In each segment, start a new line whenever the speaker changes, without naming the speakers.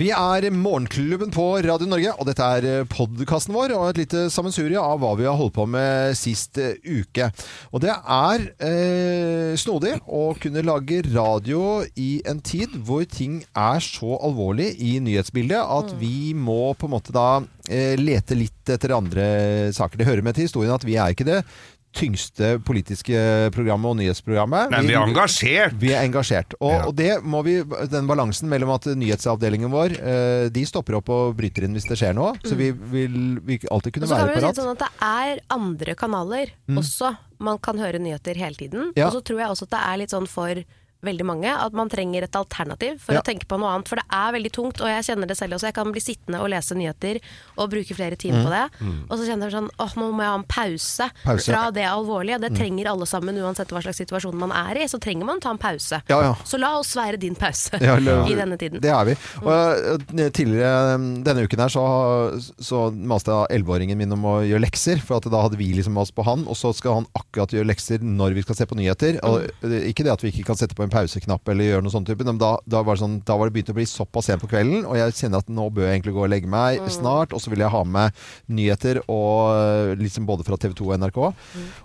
Vi er Morgenklubben på Radio Norge, og dette er podkasten vår. Og et lite sammensurie av hva vi har holdt på med sist eh, uke. Og det er eh, snodig å kunne lage radio i en tid hvor ting er så alvorlig i nyhetsbildet at vi må på en måte da eh, lete litt etter andre saker. Det hører med til historien at vi er ikke det tyngste politiske programmet og nyhetsprogrammet.
Nei, vi er engasjert.
Vi er engasjert. Og, og det må vi, den balansen mellom at nyhetsavdelingen vår eh, De stopper opp og bryter inn hvis det skjer noe. Så vi vil vi alltid
Og
kunne
så kan
være
vi jo si
parat.
sånn at det er andre kanaler også. Man kan høre nyheter hele tiden.
Mm. Ja.
Og så tror jeg også at det er litt sånn for veldig mange at man trenger et alternativ for
Ja.
å tenke på noe annet. For det er veldig tungt, og jeg kjenner det selv også. Jeg kan bli sittende og lese nyheter og bruke flere timer på det. Og så kjenner jeg sånn åh, nå må jeg ha en pause,
Mm. Pause. Mm.
fra det alvorlige. Det trenger alle sammen, uansett hva slags situasjon man er i. Så trenger man ta en pause.
Ja, ja.
Så la oss være din pause
Ja, eller-
i denne tiden.
Det er vi. Og eh, tidligere eh, denne uken her så, så maste jeg 11-åringen min om å gjøre lekser, for at da hadde vi liksom mast på han, og så skal han akkurat gjøre lekser når vi skal se på nyheter. Og, eh, ikke det at vi ikke kan sette på en pauseknapp eller gjøre noe sånt type, men da, da var det sånn, da var det begynt å bli såpass sent på kvelden, og jeg kjenner at nå bør jeg egentlig gå og legge meg snart, og så vil jeg ha med nyheter og eh, liksom både fra TV 2 og NRK.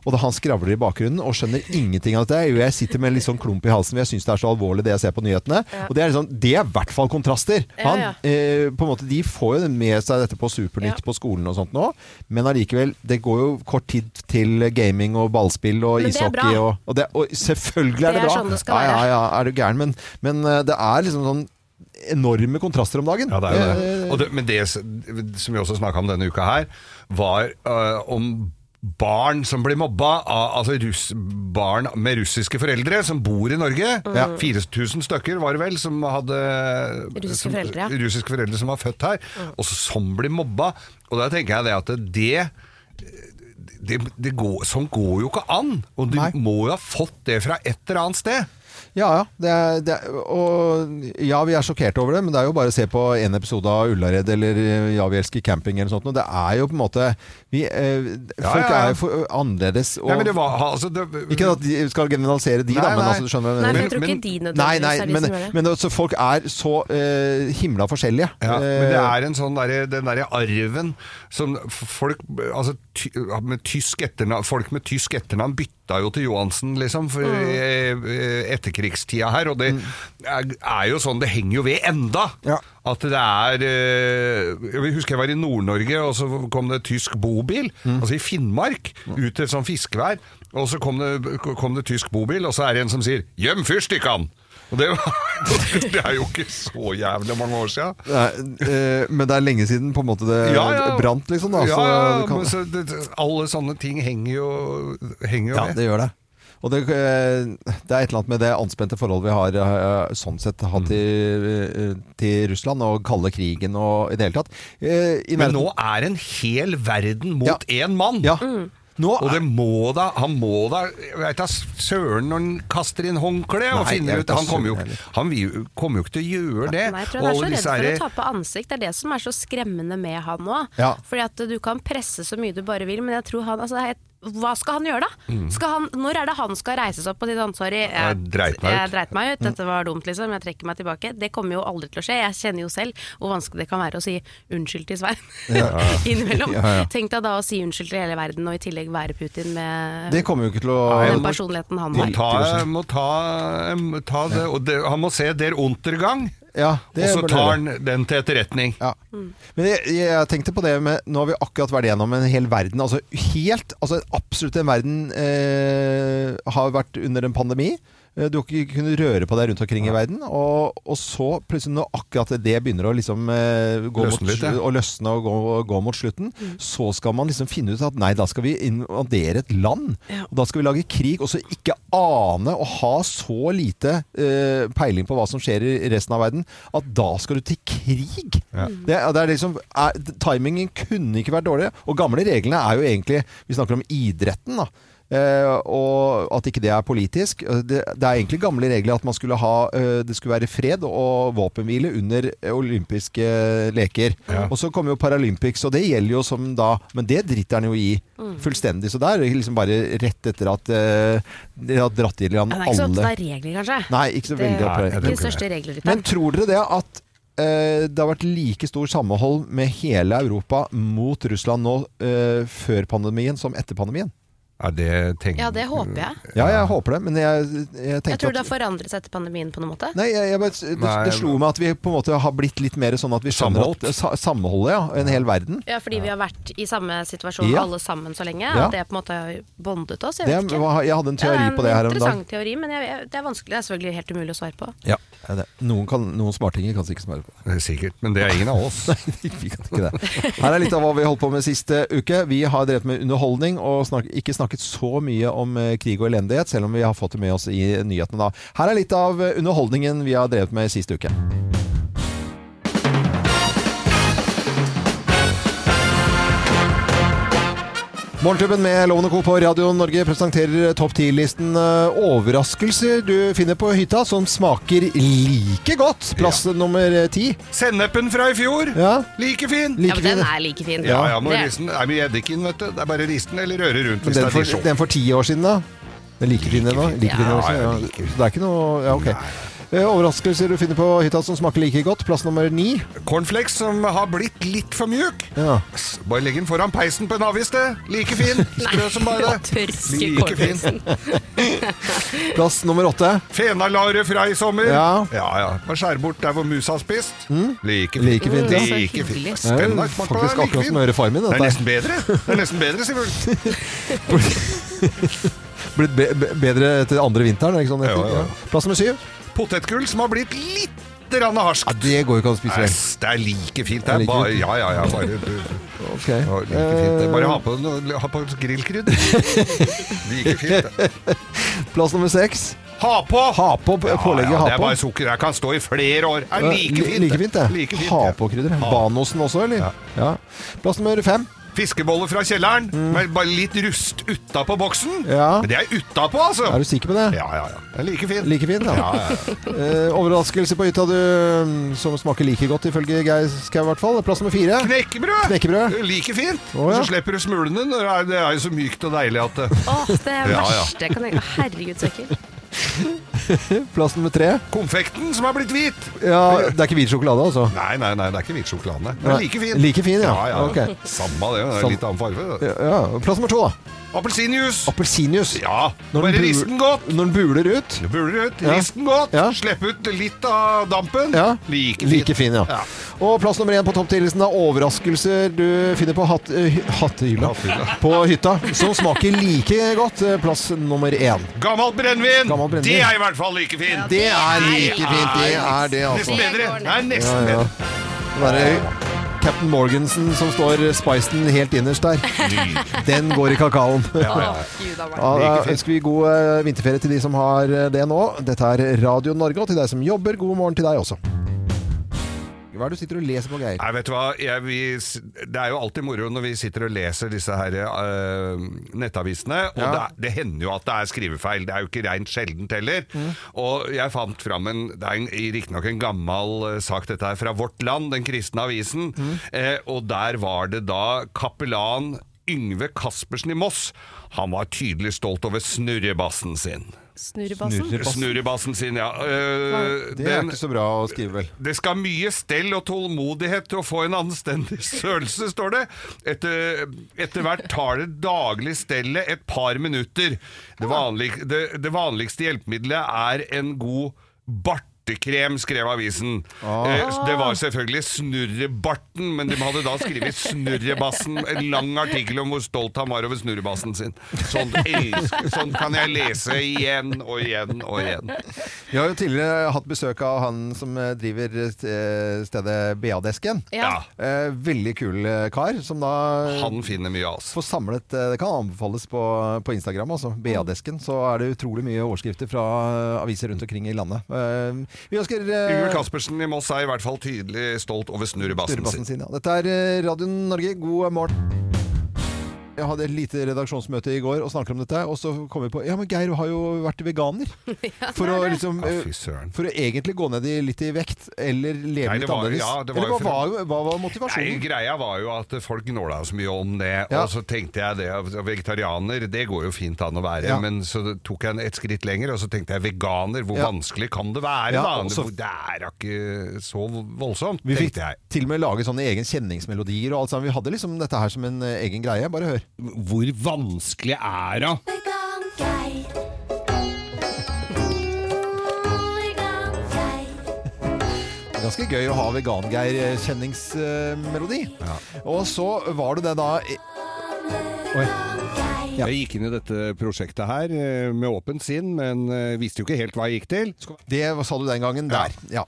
Og da han skravler i bakgrunnen og skjønner ingenting av dette, jo, jeg sitter med en litt sånn klump i halsen, for jeg syns det er så alvorlig det jeg ser på nyhetene. Og det er liksom, det er i hvert fall kontraster.
Ja,
Han,
ja.
eh, på en måte, de får jo med seg dette på Supernytt
Ja.
på skolen og sånt nå, men allikevel, det går jo kort tid til gaming og ballspill og
Men det er
ishockey
bra.
og, og, det, og selvfølgelig er
Det
det,
er
bra.
sånn det skal
ja, ja,
være.
ja, er du gæren, men, men eh, det er liksom sånn enorme kontraster om dagen.
Ja, det er jo
Eh,
det. Og det men det s- som vi også snakka om denne uka her, var øh, om barn som blir mobba, av, altså russ, barn med russiske foreldre som bor i Norge. 4000 stykker var det vel som hadde
Russiske
som,
foreldre, ja. Mm.
russiske foreldre som var født her, og som blir mobba. Og da tenker jeg det at det det, det går, sånn går jo ikke an! Og du
Nei.
må jo ha fått det fra et eller annet sted.
Ja, ja. Det er, det er, og ja, vi er sjokkert over det, men det er jo bare å se på en episode av Ullared eller eh, Ja, vi elsker camping eller noe sånt. Og det er jo på en måte vi, eh,
Ja,
Folk
ja, ja.
er jo for, annerledes. Og,
Nei, men det var, altså, det,
ikke at de skal generalisere de,
Nei,
da, men
nei.
altså, du skjønner hva
Nei,
jeg
for
mener.
jeg tror
men-
ikke de
Nei,
nødvendigvis
nei,
er de
men,
som gjør det.
men altså, folk er så eh, himla forskjellige.
Ja, men det
Eh,
er en sånn derre- den derre arven som f- folk altså, ty, med tysk etternavn, Folk med tysk etternavn bytta jo til Johansen, liksom, for eh, etterkrigstida her. Og det er, er jo sånn Det henger jo ved enda!
Ja.
At det er eh, Jeg husker jeg var i Nord-Norge, og så kom det tysk bobil. Altså i Finnmark, ut til et sånt fiskevær. Og så kom det, kom det tysk bobil, og så er det en som sier 'Gjem fyrstikkene!' Og det, var, det er jo ikke så jævlig mange år sia.
Nei, eh, men det er lenge siden på en måte det
Ja, ja.
Eh, brant, liksom. Da,
ja,
så
ja,
det kan-
men så det, alle sånne ting henger jo, henger jo
Ja,
med.
det gjør det. Og det, eh, det er et eller annet med det anspente forholdet vi har eh, sånn sett hatt til, eh, til Russland og kalde krigen og i det hele tatt. Eh, i
Men
nærheten-
nå er en hel verden mot én mann!
Ja.
Mm.
Nå
Og det
er,
må da, han må da jeg vet da søren når han kaster inn håndkle
Nei,
og
jeg
finner
vet
ut
da
Han kommer jo,
søren heller.
han vil jo- kommer jo ikke til å gjøre det.
Nei, jeg
Og
tror han
alle
er
disse
så redd
herre-
for å tape ansikt. Det er det som er så skremmende med han nå.
Ja.
Fordi at du kan presse så mye du bare vil, men jeg tror han altså, jeg, Hva skal han gjøre, da? Skal han, når er det han skal reise seg opp og si sånn Sorry, jeg,
Jeg dreit meg ut.»
jeg dreit meg ut. Dette var dumt, liksom. Jeg trekker meg tilbake. Det kommer jo aldri til å skje. Jeg kjenner jo selv hvor vanskelig det kan være å si unnskyld til Svein innimellom.
Ja, ja.
Tenk deg da å si unnskyld til hele verden, og i tillegg være Putin med
det kommer jo ikke til å
den personligheten han
må
har.
ta, må ta, må ta det, og det, Han må se Der Untergang,
Ja,
og
det
så
burde
tar
det.
han den til etterretning.
Ja. Men jeg, jeg tenkte på det med Nå har vi akkurat vært gjennom en hel verden. Altså helt, altså absolutt en verden eh, har vært under en pandemi. Eh, Du har ikke kunnet røre på deg rundt omkring i verden. Og, og så plutselig, når akkurat det begynner å liksom eh, gå
Løsne
mot,
litt, ja.
og løsne og gå, gå mot slutten, så skal man liksom finne ut at nei, da skal vi invadere et land. Og da skal vi lage krig, og så ikke ane og ha så lite eh, peiling på hva som skjer i resten av verden, at da skal du til krig. Det, er- det er liksom, er, timingen kunne ikke vært dårligere. Og gamle reglene er jo egentlig Vi snakker om idretten, da. Eh, og at ikke det er politisk. Eh, Det, det er egentlig gamle regler at man skulle ha eh, det skulle være fred og våpenhvile under eh, olympiske eh, leker. Og så kommer jo Paralympics, og det gjelder jo som da Men det driter han jo i
Mm.
fullstendig. Så det er liksom bare rett etter at eh, de har dratt i land
Ja, Det er ikke så
alle
opptatt av regler, kanskje.
Nei, ikke så
Det
veldig
Nei, jeg
opptatt.
tror
er
ikke
de største regler,
Men tror dere det at eh, det har vært like stor sammenhold med hele Europa mot Russland nå eh, før pandemien som etter pandemien.
Er det tenkt?
Ja, det håper jeg.
Ja, jeg håper det, men jeg, jeg
Jeg
tenkte
tror
at
det har forandret seg etter pandemien på noen måte.
Nei, jeg, jeg, bare- det,
Nei.
det slo meg at vi på en måte har blitt litt mer sånn at vi skjønner
Samholdt.
at sa, Samholdet, ja. En hel verden.
Ja, fordi vi har vært i samme situasjon
Ja.
alle sammen så lenge.
Ja.
At det på en måte har bondet oss. Jeg
Det, jeg
vet ikke.
hadde en
Ja,
teori på det her om dagen.
interessant teori, men jeg, jeg, det er vanskelig. Det er selvfølgelig helt umulig å svare på.
Ja, det er det. Noen, kan, noen smartinger kan sikkert svare på det.
Eh, Sikkert, men det er ingen av oss.
Nei, vi kan ikke det. Her er litt av hva vi holdt på med siste uke. Vi har drevet med underholdning og snak ikke snakket så mye om eh, krig og elendighet, selv om vi har fått det med oss i nyhetene da. Her er litt av eh, underholdningen vi har drevet med siste uke. Morgenklubben med Lovende Co. på Radio Norge presenterer topp 10-listen eh, overraskelser du finner på hytta som smaker like godt. Plass nummer eh, ti.
Sennepen fra i fjor,
Ja.
like fin!
Like
Ja, men den
fin.
er like fin.
Ja, ja, må
det,
riste den. Nei, men jeg eddiker den, vet du. Det er bare risten eller røre rundt
Men
hvis det
den
er
for,
dijon.
den for ti år siden, da? Den like fin ennå? Like fin
Ja,
også,
ja,
ja.
like fin.
Så det er ikke noe Ja, ok. Eh, Overraskelser du finner på hytta som smaker like godt. Plass nummer ni.
Cornflakes som har blitt litt for mjuk.
Ja.
S- Bare legg den foran peisen på en aviste. Like fin. Sprø som bare.
Tørske
Like fin.
Plass nummer åtte.
Fenalare fra i sommer.
Ja. Mm.
ja. ja. Bare skjær bort der hvor musa har spist. Like fin.
Like fint, ja.
Like
Mm. Så hyggelig.
fin.
Det er
Spennende. Smak på
Eh, Faktisk akkurat
den, like
som å
fin.
høre faren min.
Det er
Dette.
nesten bedre. Det er nesten bedre, Sivert.
Blitt be be- bedre til andre vinteren. er det Ikke sånn, det
Ja,
heter?
ja.
Ja. Plass nummer syv.
Potetgull som har blitt litt rann harsk.
Ja, det går jo ikke an å spise vel.
Æsj, det er like fint. Det
Det er
er
like
bare,
fint.
ja, ja, ja, bare, du,
Ok.
ja, like fint. Det er Bare ha
Eh,
på, noe- ha på grillkrydder. Like fint. det.
Eh, plass nummer seks.
Ha på!
Ha på p- pålegget.
ja,
ha
Det er
på.
bare sukker. Jeg kan stå i flere år. Det er
Eh,
like
li-
fint.
like fint, det.
Like fint,
ha
ja.
på krydder.
Ha.
Banosen også, eller? Ja.
Ja.
Plass nummer fem.
Fiskeboller fra kjelleren, med bare litt rust utapå boksen.
Mm. Ja.
Men det er utapå, altså!
Er du sikker på det?
Ja, ja, ja. Det er like fint.
Like fint, da.
Ja, ja, ja.
Eh, overraskelse på hytta du mm, som smaker like godt, ifølge Geir Skau i hvert fall. Plass nummer fire.
Knekkebrød!
Knekkebrød.
Like fint.
Å,
Og
ja.
så slipper du smulene. når det er- Det er jo så mykt og deilig at eh, det
Åh, det
Ja,
er
ja.
verste jeg kan tenke Herregud, så ekkelt.
Plass nummer tre.
Konfekten som har blitt hvit.
Ja, det er ikke hvit sjokolade, altså.
Nei, nei, nei, det er ikke hvit sjokolade. Men
Nei,
like fin.
like fin, ja.
ja,
Ok.
Samme det, det
Samme.
er litt annen farge. det.
Ja, ja. Plass nummer to, da.
Appelsinjuice.
Appelsinjuice.
Ja,
Når den
bare
bul-
rist den godt.
Når den buler ut.
Du buler ut,
Ja.
rist den godt,
Ja.
slipp ut litt av dampen.
Ja.
Like fin.
Like fin, ja.
Ja.
Og plass nummer én på topptillitsen er overraskelser du finner på hatt, eh, hy- hattehylla.
Hattehylla.
På hytta, som smaker like godt. Eh, Plass nummer én.
Gammelt brennevin!
Gammelt brennevin.
Det er i hvert fall like fin.
Det er like
Nei,
fint. Det er det, altså.
Nesten bedre.
går ned.
Nei, nesten
Ja, ja.
bedre.
Det er Captain Morgansen som står spicen helt innerst der. Den går i kakaoen.
Åh, gud a meg.
Ja, da
Like fint.
ønsker vi god eh, vinterferie til de som har eh, det nå. Dette er Radio Norge, og til deg som jobber, god morgen til deg også. Hva er det du sitter og leser på, Geir?
Nei, vet du hva? Jeg, vi, s- det er jo alltid moro når vi sitter og leser disse her eh, nettavisene, og
Ja.
det, er- det hender jo at det er skrivefeil. Det er jo ikke rent sjeldent heller.
Mm.
Og jeg fant fram en Det er en- riktignok en gammel eh, sak, dette her, fra Vårt Land, den kristne avisen.
Mm.
Eh, og der var det da kapellan Yngve Kaspersen i Moss. Han var tydelig stolt over snurrebassen sin.
Snurrebassen.
Snurrebassen sin, ja. Eh,
Det er ikke så bra å skrive, vel?
det skal mye stell og tålmodighet til å få en anstendig størrelse, står det. Etter, etter hvert tar det daglig stellet et par minutter. Det, vanlig, det, det vanligste hjelpemiddelet er en god bartekrem, skrev avisen. Eh, Det var selvfølgelig snurrebarten, men de hadde da skrevet snurrebassen. En lang artikkel om hvor stolt han var over snurrebassen sin. Sånn, elsker, sånn kan jeg lese igjen og igjen og igjen.
Vi har jo tidligere hatt besøk av han som eh, driver eh, stedet BA-desken.
Ja.
Eh, Veldig kul eh, kar, som da
Han finner mye av oss.
får samlet eh, Det kan anbefales på, på Instagram, altså.
Mm.
BA-desken. Så er det utrolig mye overskrifter fra eh, aviser rundt omkring i landet. Eh, Vi ønsker eh,
Yngve Kaspersen i Moss er i hvert fall tydelig stolt over snurrebassen
Snurrebassen
sin.
sin, ja. Dette er eh, Radio Norge, god morgen. jeg hadde et lite redaksjonsmøte i går og snakker om dette, og så kom vi på Ja, men Geir har jo vært veganer. For å liksom
Ja,
eh,
fy søren.
For å egentlig gå ned i litt i vekt, eller leve
Nei, det
litt
var-
annerledes.
ja, det var
eller
jo
hva var, hva var motivasjonen?
Nei, greia var jo at folk gnåla så mye om det,
Ja.
og så tenkte jeg det, at vegetarianer, det går jo fint an å være,
Ja.
men så tok jeg en- et skritt lenger, og så tenkte jeg veganer, hvor
Ja.
vanskelig kan det være
Ja,
da?
og så-
det er da ikke så voldsomt,
Vi fikk
tenkte jeg.
til og med lage sånne egen kjenningsmelodier og alt sammen. Vi hadde liksom dette her som en eh, egen greie. Bare hør.
Hvor vanskelig er det?
Vegan Geir. Vegan Geir.
Det er Ganske gøy å ha vegangeir-kjenningsmelodi. Og så var det det da Oi. Ja.
Jeg gikk inn i dette prosjektet her eh, med åpent sinn, men eh, visste jo ikke helt hva jeg gikk til.
Det sa du den gangen der. Ja.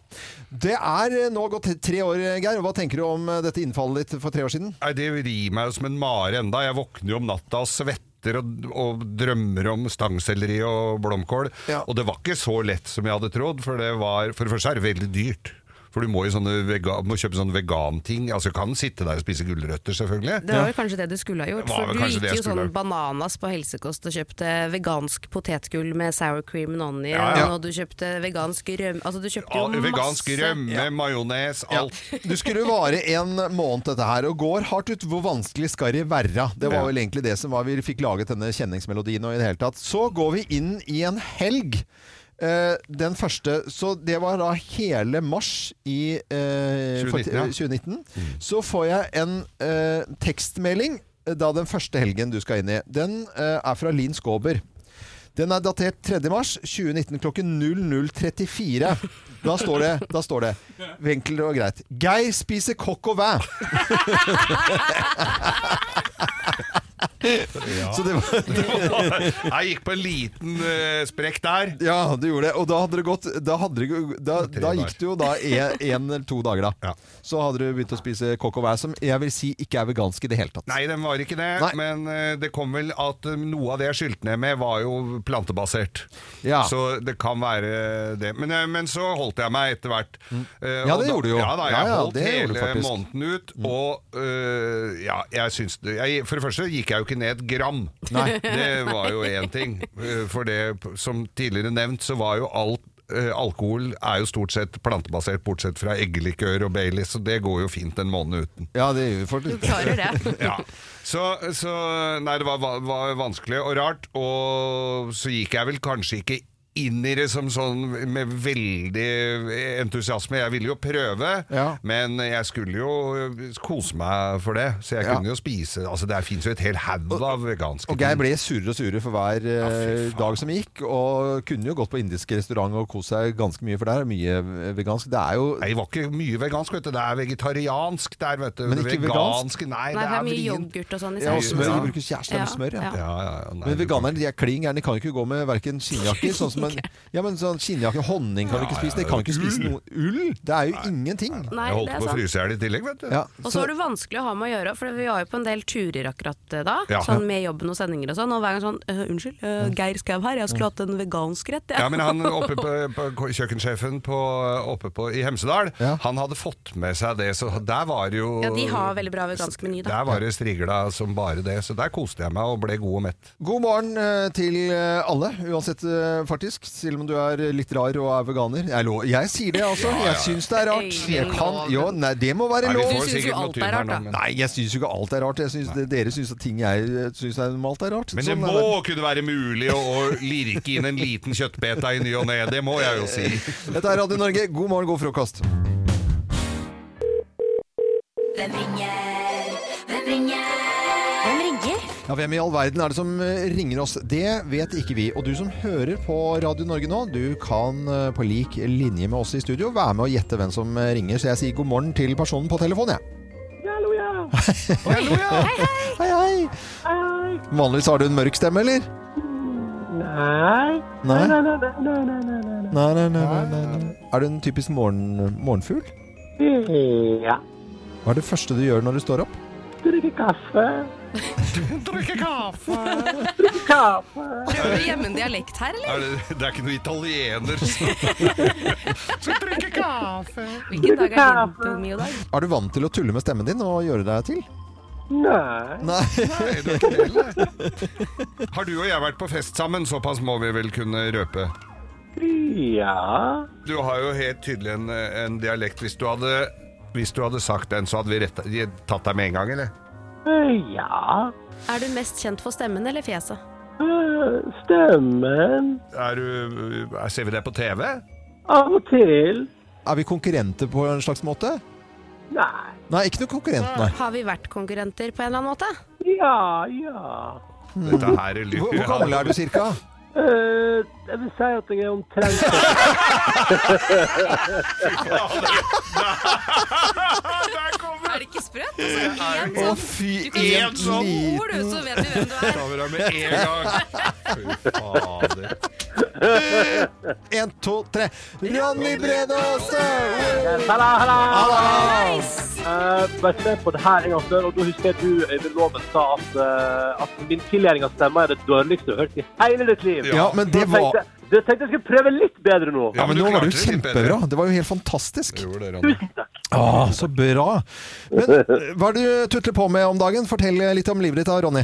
Det er eh, nå gått tre år, eh, Geir. og Hva tenker du om eh, dette innfallet ditt for tre år siden?
Nei, det rir meg jo som en mare enda. Jeg våkner jo om natta og svetter og, og drømmer om stangselleri og blomkål.
Ja.
Og det var ikke så lett som jeg hadde trodd, for det var For det første er det veldig dyrt. For du må jo sånne vega, må kjøpe sånne veganting. Altså, du kan sitte der og spise gulrøtter, selvfølgelig.
Det var vel kanskje det du skulle ha gjort.
Det var
For
vel
du
kanskje
gikk
det jeg
jo
skulle ha
sånn
gjort.
bananas på helsekost og kjøpte vegansk potetgull med sour cream and onion,
Ja, ja.
og du kjøpte vegansk rømme Altså, du kjøpte
Ja,
jo masse
vegansk rømme, majones, alt.
Du skulle vare en måned dette her, og går hardt ut. Hvor vanskelig skal det være? Det var
Ja.
vel egentlig det som var Vi fikk laget denne kjenningsmelodien og i det hele tatt. Så går vi inn i en helg. Eh, den første Så det var da hele mars i eh,
2019,
for-
ja.
2019. Så får jeg en eh, tekstmelding eh, da den første helgen du skal inn i. Den eh, er fra Linn Skåber. Den er datert 3. mars 2019 klokken 00.34. Da står det, da står det Enkelt og greit. Geir spiser kokk og væ. Så det var
Jeg gikk på en liten eh, sprekk der.
Ja, du gjorde det. Og da hadde det gått Da, hadde det, da,
Tre
da
dager.
gikk det jo da én eller to dager, da.
Ja.
Så hadde du begynt å spise kokk og væ, som jeg vil si ikke er vegansk i det hele tatt.
Nei, den var ikke det,
Nei.
men eh, det kom vel at eh, noe av det jeg skyldte ned med, var jo plantebasert.
Ja.
Så det kan være det. Men, eh, men så holdt jeg meg etter hvert. Eh,
Mm. Ja,
og
det
da-
gjorde du jo.
Ja, da, jeg
Ja, ja,
holdt
det gjorde du
hele
faktisk. Mm.
måneden ut, og eh, ja, jeg syns det jeg, For det første gikk jeg jo ikke ned et gram.
Nei.
Det var jo én ting. Eh, For det, som tidligere nevnt, så var jo alt eh, Alkohol er jo stort sett plantebasert, bortsett fra eggelikør og Baileys, så det går jo fint en måned uten.
Ja, det gjør vi
Du
faktisk.
klarer det.
Ja. Så, så Nei, det var, va- var vanskelig og rart. Og så gikk jeg vel kanskje ikke inn i det som sånn med veldig entusiasme. Jeg ville jo prøve,
Ja.
men jeg skulle jo eh, kose meg for det. Så jeg
Ja.
kunne jo spise Altså, der fins jo et helt haug av veganske
Og Geir ble surere og surere for hver eh,
fy faen.
dag som gikk, og kunne jo gått på indisk restaurant og kost seg ganske mye, for der er mye eh, vegansk. Det er jo
Nei, det var ikke mye vegansk, vet du. Det er vegetariansk der, vet du.
Men ikke vegansk?
Nei,
Nei, for det er mye
vrient.
yoghurt og sånn i
ja, og smør.
Ja.
De bruker kjæreste med smør, ja.
Ja.
Ja, ja, ja,
Men
nei, du kan-
veganerne de er klin gærne. De kan jo ikke gå med verken skinnjakker sånn som en, ja, men sånn skinnjakke, Honning kan vi ikke spise. De kan ikke spise noe ull. Det er jo ingenting.
Nei,
Jeg
det
holdt
er
på å
sant.
fryse i hjel i tillegg, vet du.
Ja,
Og så var det vanskelig å ha med å gjøre, for vi var jo på en del turer akkurat eh, da.
Ja.
Sånn med jobben og sendinger og sånn. Og hver gang sånn «Øh, 'Unnskyld, øh, Geir Skau her, jeg skulle hatt en vegansk rett', jeg.
Ja, men han oppe på, på kjøkkensjefen på, oppe på, i Hemsedal,
Ja.
han hadde fått med seg det, så der var det jo
Ja, de har veldig bra vegansk meny, da.
Der var det strigla som bare det, så der koste jeg meg og ble god og mett.
God morgen eh, til eh, alle, uansett eh, faktisk. Selv om du er eh, litt rar og er veganer. Jeg, lo jeg sier det, altså.
Ja, ja, ja.
Jeg syns det er rart.
Øyvind,
Jeg kan,
loven.
jo, nei, det må være
Nei, vi
lov.
får
Du synes
sikkert
jo
noe
alt
tyn
er
her
rart,
nå,
da.
men-
Nei, jeg syns jo ikke alt er rart. Jeg synes, dere syns at ting jeg eh, syns er normalt, er rart.
Men det
Sånn er
må kunne være mulig å, å lirke inn en liten kjøttbeta i ny og ne, det må jeg jo si.
Dette er Radio Norge. God morgen, god frokost.
Hvem ringer? Hvem ringer? Hvem ringer?
Ja, Hvem i all verden er det som eh, ringer oss? Det vet ikke vi. Og du som hører på Radio Norge nå, du kan eh, på lik linje med oss i studio være med og gjette hvem som eh, ringer. Så jeg sier god morgen til personen på telefonen, jeg.
Hallo, ja.
Hei, hei. Vanligvis har du en mørk stemme, eller?
Nei.
Nei?
Nei, nei, nei, nei, nei, nei, nei, nei.
Nei, nei, nei. nei, nei, nei. Er du en typisk morgen, morgenfugl?
Ja.
Hva er det første du gjør når du står opp?
Drikke kaffe.
Drikke kaffe!
Kaffe.
Prøver du å gjemme en dialekt her, eller?
Er det, det er ikke noe italiener som Skal drikke kaffe!
Hvilken dag er din Tomio-dag?
Er du vant til å tulle med stemmen din og gjøre deg til?
Nei.
Nei.
Nei, du er ikke det, eller? Har du og jeg vært på fest sammen? Såpass må vi vel kunne røpe.
Ja.
Du har jo helt tydelig en, en dialekt. Hvis du, hadde, hvis du hadde sagt den, så hadde vi rett, tatt deg med en gang, eller?
Eh, Ja.
Er du mest kjent for stemmen eller fjeset?
Eh, Stemmen.
Er du, er, ser vi deg på TV?
Av og til.
Er vi konkurrenter på en slags måte?
Nei.
Nei, ikke noe konkurrent, nei.
Har vi vært konkurrenter på en eller annen måte?
Ja, ja.
Dette her er
Mm. Hvor, hvor gammel er du cirka?
Eh, jeg vil si at jeg er omtrent
Der kommer
Er det ikke sprøtt? Altså, en
Å,
sånn
fy,
Du kan si
en sånn.
liten-
ord, du, så vet vi hvem du er.
over deg med en gang. Fy fader.
En, to, tre. Ronny Brede Aase!
Halla, halla!
Hallo!
Eh, Bare se på det her en gang før, og da husker jeg du Øyvind Loven sa at, eh, at min tilgjøring av stemmer er det dårligste du har hørt i hele ditt liv.
Ja, men det
Jeg
var
tenkte, jeg tenkte jeg skulle prøve litt bedre nå.
Ja, men nå var det jo
klarte litt bedre.
kjempebra. Det var jo helt fantastisk.
Gjorde det, Ronny.
Ah, så bra. Men eh, hva er det du tutler på med om dagen? Fortell litt om livet ditt da, Ronny.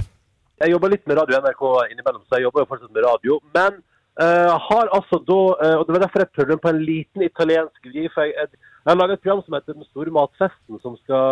Jeg jobber litt med radio i NRK innimellom, så jeg jobber jo fortsatt med radio. Men eh, har altså da eh, Og det var derfor jeg prøvde den på en liten italiensk vri. For jeg, jeg, jeg har laget et program som heter Den store matfesten, som skal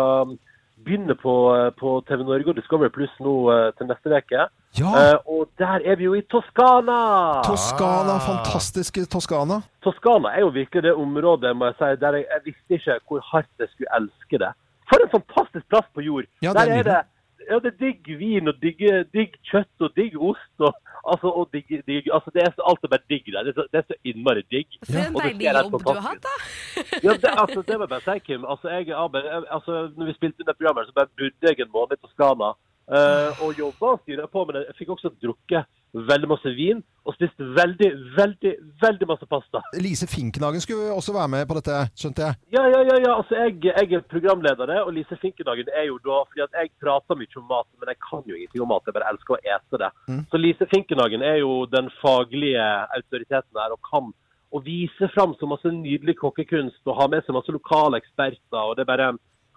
begynne på, eh, på TV Norge og Discovery Pluss nå eh, til neste uke.
Ja.
Eh, og der er vi jo i Toskana! Ah.
Toskana. Fantastiske Toskana.
Toskana er jo virkelig det området må jeg si, der jeg, jeg visste ikke hvor hardt jeg skulle elske det. For en fantastisk plass på jord!
Ja, det er
der er
nydelig.
det, ja, det er digg vin og digg, digg kjøtt og digg ost. Og, altså, og digg, digg, altså, det er så, alt er bare digg der. Det er så, det er så innmari digg.
For en
Og det
deilig
ser helt
jobb du har
fantastisk
hatt,
ut.
da.
Ja, det, altså, det må jeg bare si, Kim. Altså, jeg, er arbeid- jeg, altså, når vi spilte inn det programmet, så bare bodde jeg en måned i Toskana. eh, og jobba og styra på, men jeg fikk også drukket veldig masse vin. Og spist veldig, veldig, veldig masse pasta.
Lise Finknagen skulle også være med på dette, skjønte jeg.
Ja, ja, ja. ja. Altså, jeg, jeg er programleder, det, og Lise Finkenhagen er jo da fordi at jeg prater mye om mat, men jeg kan jo ingenting om mat. Jeg bare elsker å ete det. Så Lise Finkenhagen er jo den faglige autoriteten her og kan å vise fram så masse nydelig kokkekunst og ha med seg masse lokale eksperter. og det er bare...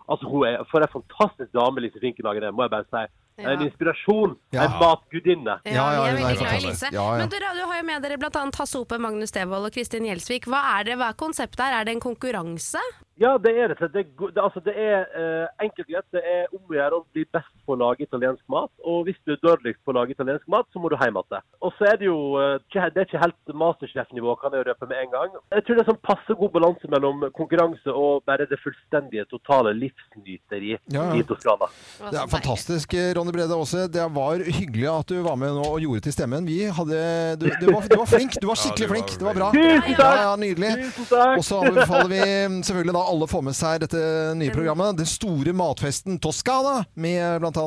Altså, hun er For en fantastisk dame Lise Finkenhagen er, må jeg bare si. En inspirasjon.
Ja.
En matgudinne.
Ja, ja,
vi er
hun er
veldig glad i
fantastisk.
Lise.
Ja, ja.
Men dere, du har jo med dere bl.a. Hasse Ope, Magnus Devold og Kristin Gjelsvik. Hva er, det, hva er konseptet her? Er det en konkurranse?
Ja, det er rett og slett. Det, er go- det, altså, det er eh, enkelt og greit. Det er om å gjøre å bli best på å lage italiensk mat. Og hvis du er dårligst på å lage italiensk mat, så må du hjem igjen. Og så er det jo eh, ikke- det er ikke helt Masterchef-nivå, kan jeg jo røpe med en gang. Jeg tror det er sånn passe god balanse mellom konkurranse og bare det fullstendige, totale livsnyteri
Ja, ja.
i Toskana.
Altså,
Det er fantastisk, eh, Ronny Brede Aase. Det var hyggelig at du var med nå og gjorde til stemmen. Vi hadde Du, du, var, du var flink. Du var skikkelig
Ja, du var
flink. Det var bra.
Tusen
Ja,
takk!
ja, nydelig.
Tusen takk!
Og så anbefaler vi mm, selvfølgelig da alle å få med seg dette nye programmet. Den store matfesten Toskana med bl.a.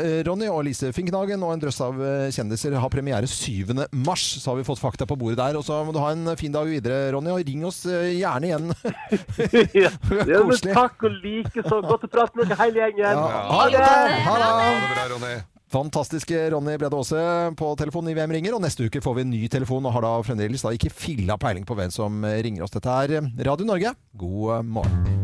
eh, Ronny og Lise Finknagen og en drøss av eh, kjendiser har premiere 7. mars. Så har vi fått fakta på bordet der. Og så må du ha en fin dag videre, Ronny, og ring oss eh, gjerne igjen.
Ja, ja, men
Koselig.
takk og like så godt å prate med dere hele gjengen.
Ja, ha det! Ha
Ha
det!
det bra, Ronny.
Fantastiske Ronny Brede Aase på telefonen i Hvem ringer? Og neste uke får vi en ny telefon, og har da fremdeles da ikke filla peiling på hvem som eh, ringer oss. Dette er Radio Norge. God eh, morgen.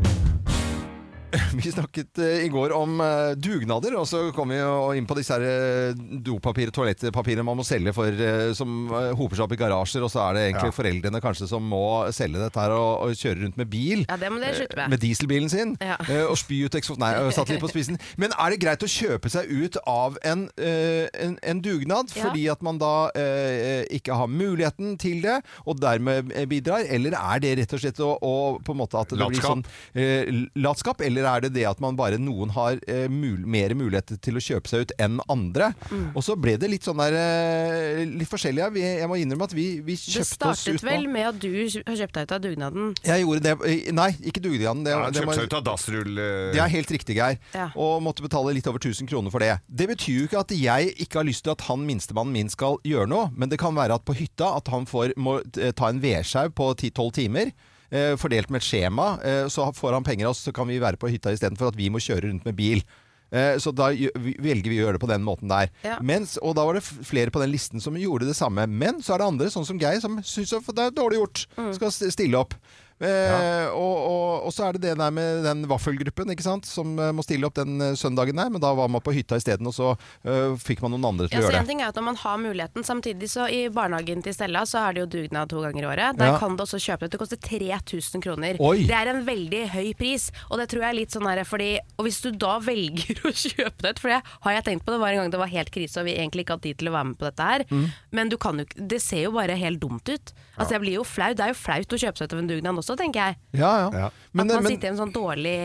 Vi snakket eh, i går om eh, dugnader, og så kom vi jo inn på disse her eh, dopapir, toalettpapirene man må selge for, eh, som eh, hoper seg opp i garasjer, og så er det egentlig foreldrene kanskje som må selge dette her og, og kjøre rundt med bil
Ja, det må dere slutte
med dieselbilen sin
Ja.
eh, og spy ut eksos... Nei, jeg satt litt på spissen. Men er det greit å kjøpe seg ut av en, eh, en, en dugnad
Ja.
fordi at man da eh, ikke har muligheten til det, og dermed eh, bidrar? Eller er det rett og slett å, å på en måte at det blir
Latskap.
sånn eh, latskap? Eller er det det at man bare noen har eh, mul mer muligheter til å kjøpe seg ut enn andre?
Mm.
Og så ble det litt sånn der eh, Litt forskjellig. ja. Vi, jeg må innrømme at vi, vi
Det
kjøpte oss ut
startet vel
nå.
med at du har kjøpt deg ut av dugnaden.
Jeg gjorde det Nei, ikke dugnaden. Det,
Ja,
det
Kjøpt
må-
seg ut av dassrull... eh,
det er helt riktig, Geir.
Ja.
Og måtte betale litt over 1000 kroner for det. Det betyr jo ikke at jeg ikke har lyst til at han minstemannen min skal gjøre noe, men det kan være at på hytta at han får, må eh, ta en vedsjau på 10-12 timer. eh, Fordelt med et skjema, eh, så får han penger av oss, så kan vi være på hytta istedenfor at vi må kjøre rundt med bil. Eh, Så da gjø- vi- velger vi å gjøre det på den måten der.
Ja.
Mens, og da var det f- flere på den listen
Mm.
som gjorde det samme. Men så er det andre, sånn som Geir, som syns det er dårlig gjort. Skal s- stille opp. Men Eh, og, og, og så er det det der med den vaffelgruppen ikke sant? som eh, må stille opp den eh, søndagen der, men da var man på hytta isteden, og så eh, fikk man noen andre til
Ja,
å
så
gjøre
en
det.
ting er at når man har muligheten Samtidig så i barnehagen til Stella Så er det jo dugnad to ganger i året Der
Ja.
kan du også kjøpe det Det koster 3000 kroner
Oi.
Det er en veldig høy pris Og det tror jeg er litt sånn her fordi, Og hvis du da velger å kjøpe det For det har jeg tenkt på Det var en gang det var helt krise Og vi egentlig ikke hadde tid til å være med på dette her
Mm.
Men du kan jo ikke- Det ser jo bare helt dumt ut Altså jeg blir jo flau Det er jo flaut å kjøpe seg til en dugnad også, tenker jeg
Ja, ja.
Ja.
Men,
At man
men
sitter i en sånn dårlig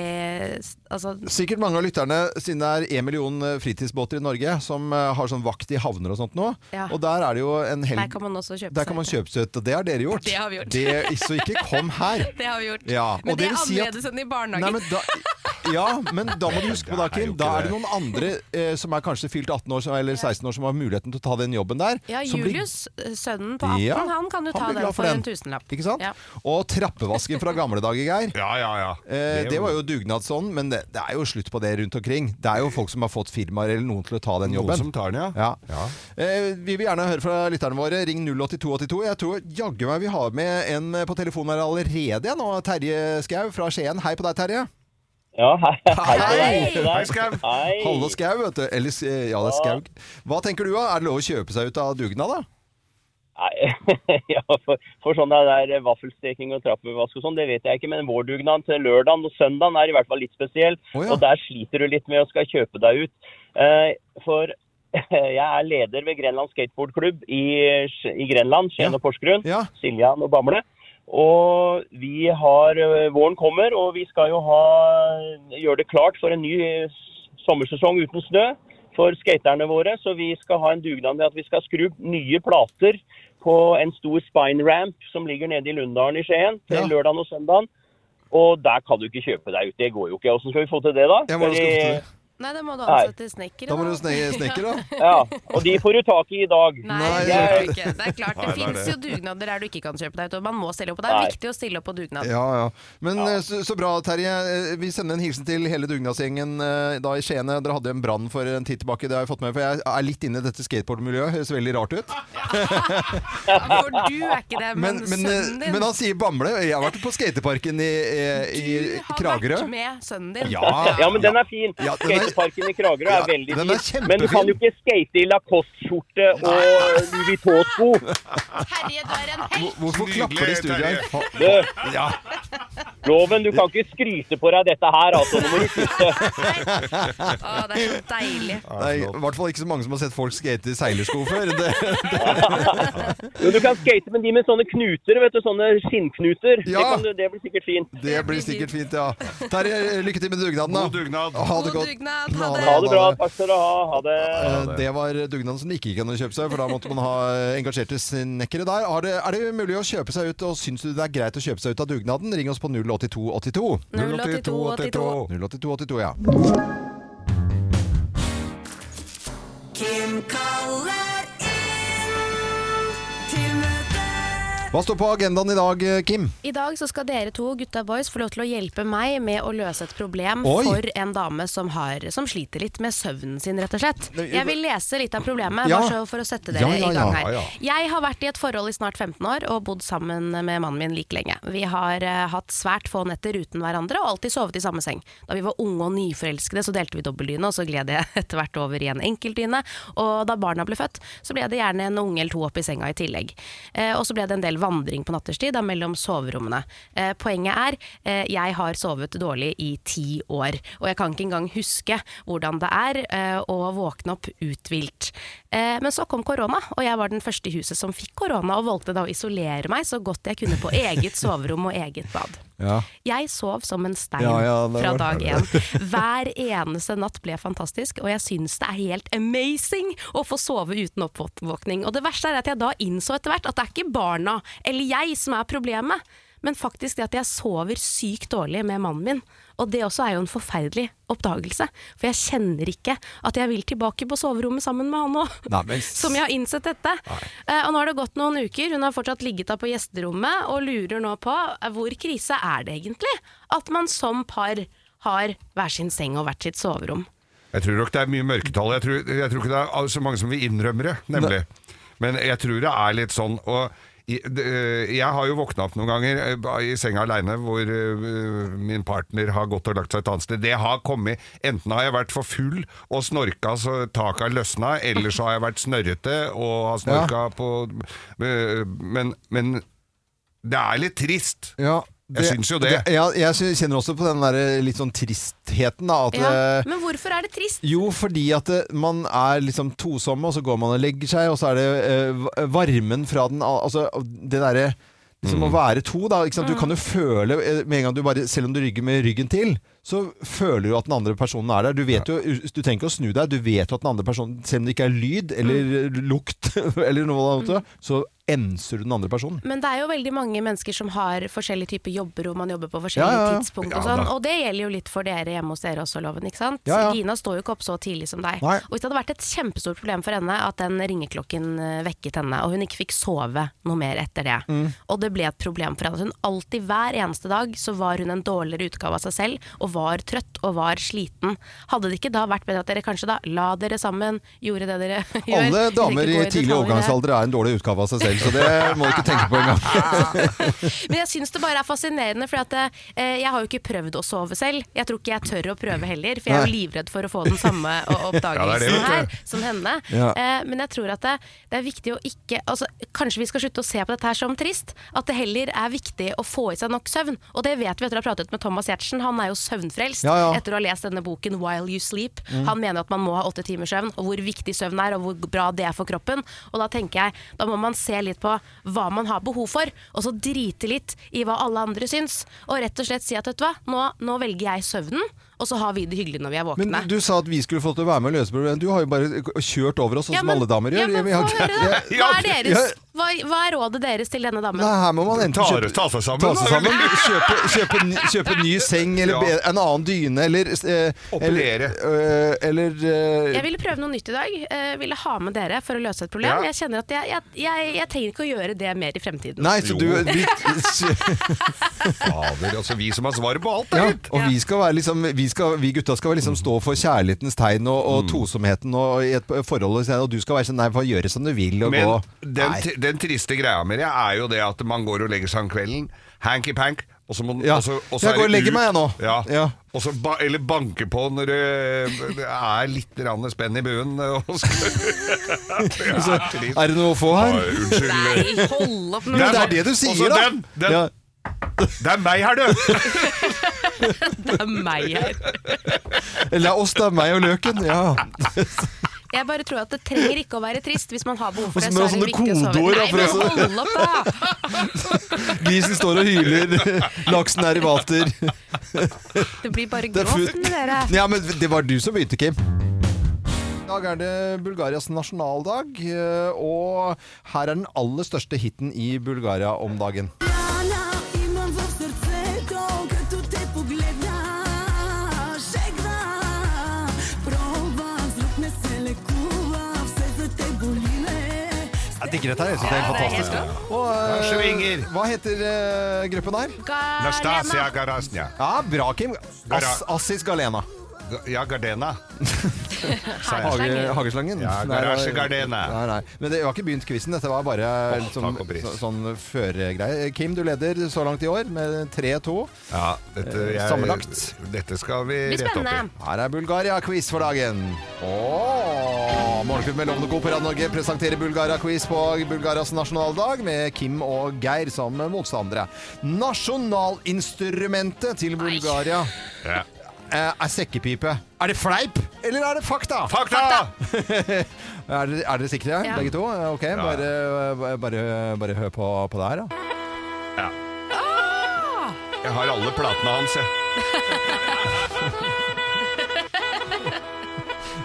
Altså
Sikkert mange av lytterne, siden det er en million eh, fritidsbåter i Norge som eh, har sånn vakt i havner og sånt nå.
Ja.
Og der er det jo en helg
Der kan man også kjøpe
Der
seg
kan man
til.
kjøpe seg ut. og Det har dere gjort.
Det har vi gjort.
Det- så ikke kom her.
Det har vi gjort
Ja,
Men
og
det
det
er
vil si at-
annerledes enn i barnehagen
Nei, men da, ja, men da må du huske på da,
Det er jo
Kim.
ikke
Da er det
det.
noen andre eh, som er kanskje fylt 18 år som- eller 16 år som har muligheten til å ta den jobben der.
Ja,
som blir-
Julius, eh, sønnen på 18,
Ja,
han kan jo ta
blir glad
den for en tusenlapp.
Ikke sant?
Ja.
Og trappevasken fra gamle dager, Geir.
Ja, ja, ja.
Eh, det var jo dugnadsånd, men det, det er jo slutt på det rundt omkring. Det er jo folk som har fått firmaer eller noen til å ta den
noen
jobben.
som tar den, ja.
Ja. Eh, vi vil gjerne høre fra lytterne våre. Ring 08282. Jeg tror jaggu meg vi har med en på telefonen her allerede nå. Terje Skau fra Skien. Hei på deg, Terje.
Ja, hei. Hei,
Hei!
til deg.
Hei, Skau.
Hei.
Halle Skau, vet du. Eller, s- ja, det er Skaug. Hva tenker du, da? Er det lov å kjøpe seg ut av dugnad, da?
Nei, ja, for, for sånn det der vaffelsteking og trappevask og sånn, det vet jeg ikke. Men vår dugnad til lørdagen og søndagen er i hvert fall litt spesiell.
Å, ja.
Og der sliter du litt med å skal kjøpe deg ut. Eh, for jeg er leder ved Grenland skateboardklubb i, Sk- i Grenland, Skien
Ja.
og Porsgrunn.
Ja.
Siljan og Bamble. Og vi har, eh, våren kommer, og vi skal jo ha, gjøre det klart for en ny eh, s- sommersesong uten snø for skaterne våre. Så vi skal ha en dugnad med at vi skal skru nye plater på en stor spine ramp som ligger nede i Lunddalen i Skien til
Ja.
lørdag og søndag. Og der kan du ikke kjøpe deg ut. Det går jo ikke. Hvordan skal vi få til det, da?
Ja, hvordan skal vi få til det?
Nei, da må du
Nei.
ansette snekker.
Da må du sne- snekker, da.
Ja, Og de får du tak i i dag.
Nei,
Nei,
det
det-
gjør du ikke. Det er klart, det
Nei, det er
fins
det.
jo dugnader der du ikke kan kjøpe deg ut, og man må stille opp. Og det er
Nei.
viktig å stille opp på dugnad.
Ja, ja. Men eh, Så, så bra, Terje. Eh, Vi sender en hilsen til hele dugnadsgjengen eh, da i Skien. Dere hadde jo en brann for en tid tilbake, det har jeg fått med meg, for jeg er litt inne i dette skateboardmiljøet. Høres veldig rart ut.
For du er ikke det, Ah, men,
Men, men,
sønnen
eh,
din
men han sier Bamble. Jeg har vært på skateparken i, eh, i
Du har
Kragerø.
vært med sønnen din.
Ja.
Ja, men den er fin.
Ah. Ja, den er-
Skateparken i Kragerø
Ja,
er veldig
den
fin.
er kjempefin.
men du kan jo ikke skate i Lacoste-skjorte og Louis Vuitton-sko.
Terje, du er en helt
Hvorfor klapper de i studio her?
Nydelig,
Fa-
Du,
Ja.
Loven, du kan ikke skryte på deg dette her, altså. Nå må du slutte.
Å, det er så deilig.
Det er i hvert fall ikke så mange som har sett folk skate i seilersko før. Det,
Jo, du kan skate med de med sånne knuter, vet du. Sånne skinnknuter.
Ja.
Det, kan du, det blir sikkert fint.
det blir sikkert fint, ja. Terje, lykke til med dugnaden, da.
God dugnad.
Ha det
God
godt.
dugnad. Ha
Ha
det.
Ha det bra. Takk skal du ha. Ha det.
Eh, Det var dugnaden som de ikke kunne kjøpe seg, for da måtte man ha engasjerte snekkere der. Har det, er det mulig å kjøpe seg ut, og syns du det er greit å kjøpe seg ut av dugnaden? Ring oss på 08282.
08282.
08282, ja.
Kim kaller inn til møte.
Hva står på agendaen i dag, eh, Kim?
I dag så skal dere to, gutta boys, få lov til å hjelpe meg med å løse et problem
Oi.
for en dame som, har, som sliter litt med søvnen sin, rett og slett.
Nei,
Jeg vil lese litt av problemet,
eh, Ja.
bare så for å sette dere
Ja, ja,
i gang
ja,
her.
ja,
Jeg har vært i et forhold i snart 15 år og bodd sammen med mannen min like lenge. Vi har eh, hatt svært få netter uten hverandre og alltid sovet i samme seng. Da vi var unge og nyforelskede så delte vi dobbeltdyne, og så gled jeg etter hvert over i en enkeltdyne. Og da barna ble født, så ble det gjerne en unge eller to opp i senga i tillegg. Eh, og så ble det en del vandring på natterstid da, mellom soverommene. Eh, poenget er, eh, jeg har sovet dårlig i ti år, og jeg kan ikke engang huske hvordan det er eh, å våkne opp uthvilt. Eh, men så kom korona, og jeg var den første i huset som fikk korona, og valgte da å isolere meg så godt jeg kunne på eget soverom og eget bad.
Ja.
Jeg sov som en stein
Ja, ja, det
fra
var-
dag én. Hver eneste natt ble fantastisk, og jeg syns det er helt amazing å få sove uten oppvåkning. Og det verste er at jeg da innså etter hvert at det er ikke barna eller jeg som er problemet, men faktisk det at jeg sover sykt dårlig med mannen min. Og det også er jo en forferdelig oppdagelse, for jeg kjenner ikke at jeg vil tilbake på soverommet sammen med han òg
Nei, men-
som jeg har innsett dette. Eh, og nå har det gått noen uker, hun har fortsatt ligget der på gjesterommet og lurer nå på eh, hvor krise er det egentlig at man som par har hver sin seng og hvert sitt soverom.
Jeg tror nok det er mye mørketall. Jeg tror, jeg tror ikke det er så mange som vil innrømme det, nemlig. Men jeg tror det er litt sånn. Og i- d- eh, Jeg har jo våkna opp noen ganger eh, ba- i senga aleine hvor eh, min partner har gått og lagt seg et annet sted. Det har kommet Enten har jeg vært for full og snorka så taket har løsna, eller så har jeg vært snørrete og har snorka på eh, men, men det er litt trist.
Ja,
Jeg syns jo det.
ja, jeg sy- kjenner også på den der litt sånn tristheten. Da, at,
Ja.
eh,
Men hvorfor er det trist?
Jo, fordi at eh, man er liksom tosomme, og så går man og legger seg, og så er det eh, va- varmen fra den al- Altså, det derre Liksom å være to, da. Ikke sant? Du kan jo føle eh, med en gang du bare Selv om du rygger med ryggen til, så føler du at den andre personen er der. Du vet jo, du trenger ikke å snu deg, du vet jo at den andre personen Selv om det ikke er lyd eller lukt eller noe annet, så enser du den andre personen.
Men det er jo veldig mange mennesker som har forskjellige typer jobber, og man jobber på forskjellige
Ja, ja, ja.
tidspunkt
Ja,
og
da.
sånn. Og det gjelder jo litt for dere hjemme hos dere også, Loven, ikke sant?
Ja, ja.
Gina står jo ikke opp så tidlig som deg.
Nei.
Og hvis det hadde vært et kjempestort problem for henne at den ringeklokken eh, vekket henne, og hun ikke fikk sove noe mer etter det,
Mm.
og det ble et problem for henne, at hun alltid hver eneste dag så var hun en dårligere utgave av seg selv, og var trøtt og var sliten. Hadde det ikke da vært bedre at dere kanskje da la dere sammen, gjorde det dere gjør?
Alle
Vi trenger
damer
ikke
i
gå
tidlig
detaljer der.
overgangsalder er en dårlig utgave av seg selv, så det må du ikke tenke på engang.
Men jeg syns det bare er fascinerende, for at, eh, jeg har jo ikke prøvd å sove selv. Jeg tror ikke jeg tør å prøve heller, for jeg er jo livredd for å få den samme o-
Ja, det er det,
oppdagelsen
vet du.
her som henne.
Ja.
Eh, men jeg tror at det, det er viktig å ikke altså, Kanskje vi skal slutte å se på dette her som trist. At det heller er viktig å få i seg nok søvn. Og det vet vi etter å ha pratet med Thomas Giertsen. Han er jo søvnfrelst
Ja, ja.
etter å ha lest denne boken 'While You Sleep'.
Mm.
Han mener at man må ha åtte timers søvn, og hvor viktig søvn er, og hvor bra det er for kroppen. Og da tenker jeg, da må man se litt på hva man har behov for, og så drite litt i hva alle andre syns. Og rett og slett si at vet du hva, nå, nå velger jeg søvnen, og så har vi det hyggelig når vi er våkne.
Men du sa at vi skulle fått til å være med og løse problemet. Du har jo bare k- kjørt over oss, sånn
Ja,
som
men-
alle damer gjør.
Ja, men
Vi har
få
ikke-
høre, da. Hva er
Ja.
deres? Hva, hva er rådet deres til denne damen?
Nei, her må man enten
Ta,
kjøpe,
ta seg sammen.
ta seg sammen,
da.
kjøpe, kjøpe, ny- kjøpe ny seng eller
Ja.
be, en annen dyne, eller eh, Eller,
Operere.
øh, eller eh,
Jeg ville prøve noe nytt i dag. eh, ville ha med dere for å løse et problem.
Ja.
Jeg kjenner at jeg, jeg, jeg, jeg trenger ikke å gjøre det mer i fremtiden.
Nei, så
Jo.
du vi,
Fader, altså vi som har svaret på alt, da,
ja,
gitt.
Og vi, skal være liksom, vi, skal, vi gutta skal liksom stå for kjærlighetens tegn og,
Mm.
og tosomheten og i et forhold, og si- og du skal være sånn Nei, få gjøre som du vil og gå
Men den,
Nei.
tri- den triste greia med det er jo det at man går og legger seg om kvelden, hanky-pank, og så må
Ja.
og så, og så
Jeg
er
går og
det
legger
ut.
meg, jeg, nå.
Ja.
Ja.
Og så ba, eller banke på når det det er litt grann spenn i buen. Og skal,
Så, er det noe å få her?
Oi, unnskyld.
Nei, hold opp nå!
Men det
Nei,
er det du sier,
altså,
da!
den- den-
Ja.
Det er meg her, du!
Det er meg her.
Eller det er oss, det er meg og løken. Ja.
Jeg bare tror at det trenger ikke å være trist hvis man har behov for
Og så
det.
med
Så er det
sånne
viktig å sove.
kodeord, da,
Nei,
for
men
å- sånn.
hold opp, da!
Grisen står og hyler, laksen er i vater.
Det blir bare
Det er
gråt
futt.
med dere.
Ja, men det var du som begynte, Kim. I dag er det Bulgarias nasjonaldag, eh, og her er den aller største hiten i Bulgaria om dagen.
Рана имам в сърцето, като те погледна. Шегна, проба, с друг не се лекува, все за те боли ме.
Jeg digger dette her. Jeg synes det er helt fantastisk. Og, eh,
Det svinger.
hva heter eh, gruppen her?
Nastasia
Galena.
Garasnia.
Ja, bra, Kim. Ass, Assis Galena.
Ja, Gardena.
Hage,
Hageslangen.
hageslangen?
Ja,
Nei,
garasje,
nei,
gardene.
Nei, nei. Men det var ikke begynt quizen, dette var bare
Åh,
liksom,
takk og pris.
så, sånn føregreie. Kim, du leder så langt i år med 3-2.
Ja, dette,
Eh,
jeg,
Sammenlagt.
Dette skal vi
Det blir
rette opp i.
spennende.
Her er Bulgaria-quiz for dagen. Åh, Morgenklubben med Lovende Co. på Radio Norge presenterer Bulgaria-quiz på Bulgarias nasjonaldag med Kim og Geir som motstandere. Nasjonalinstrumentet til Bulgaria
Ja.
eh, er sekkepipe. Er det fleip, eller er det fakta?
Fakta!
Er dere, er dere sikre,
Ja.
begge to? Ok, bare, bare, bare hør på, på det her, da.
Jeg har alle platene hans, jeg.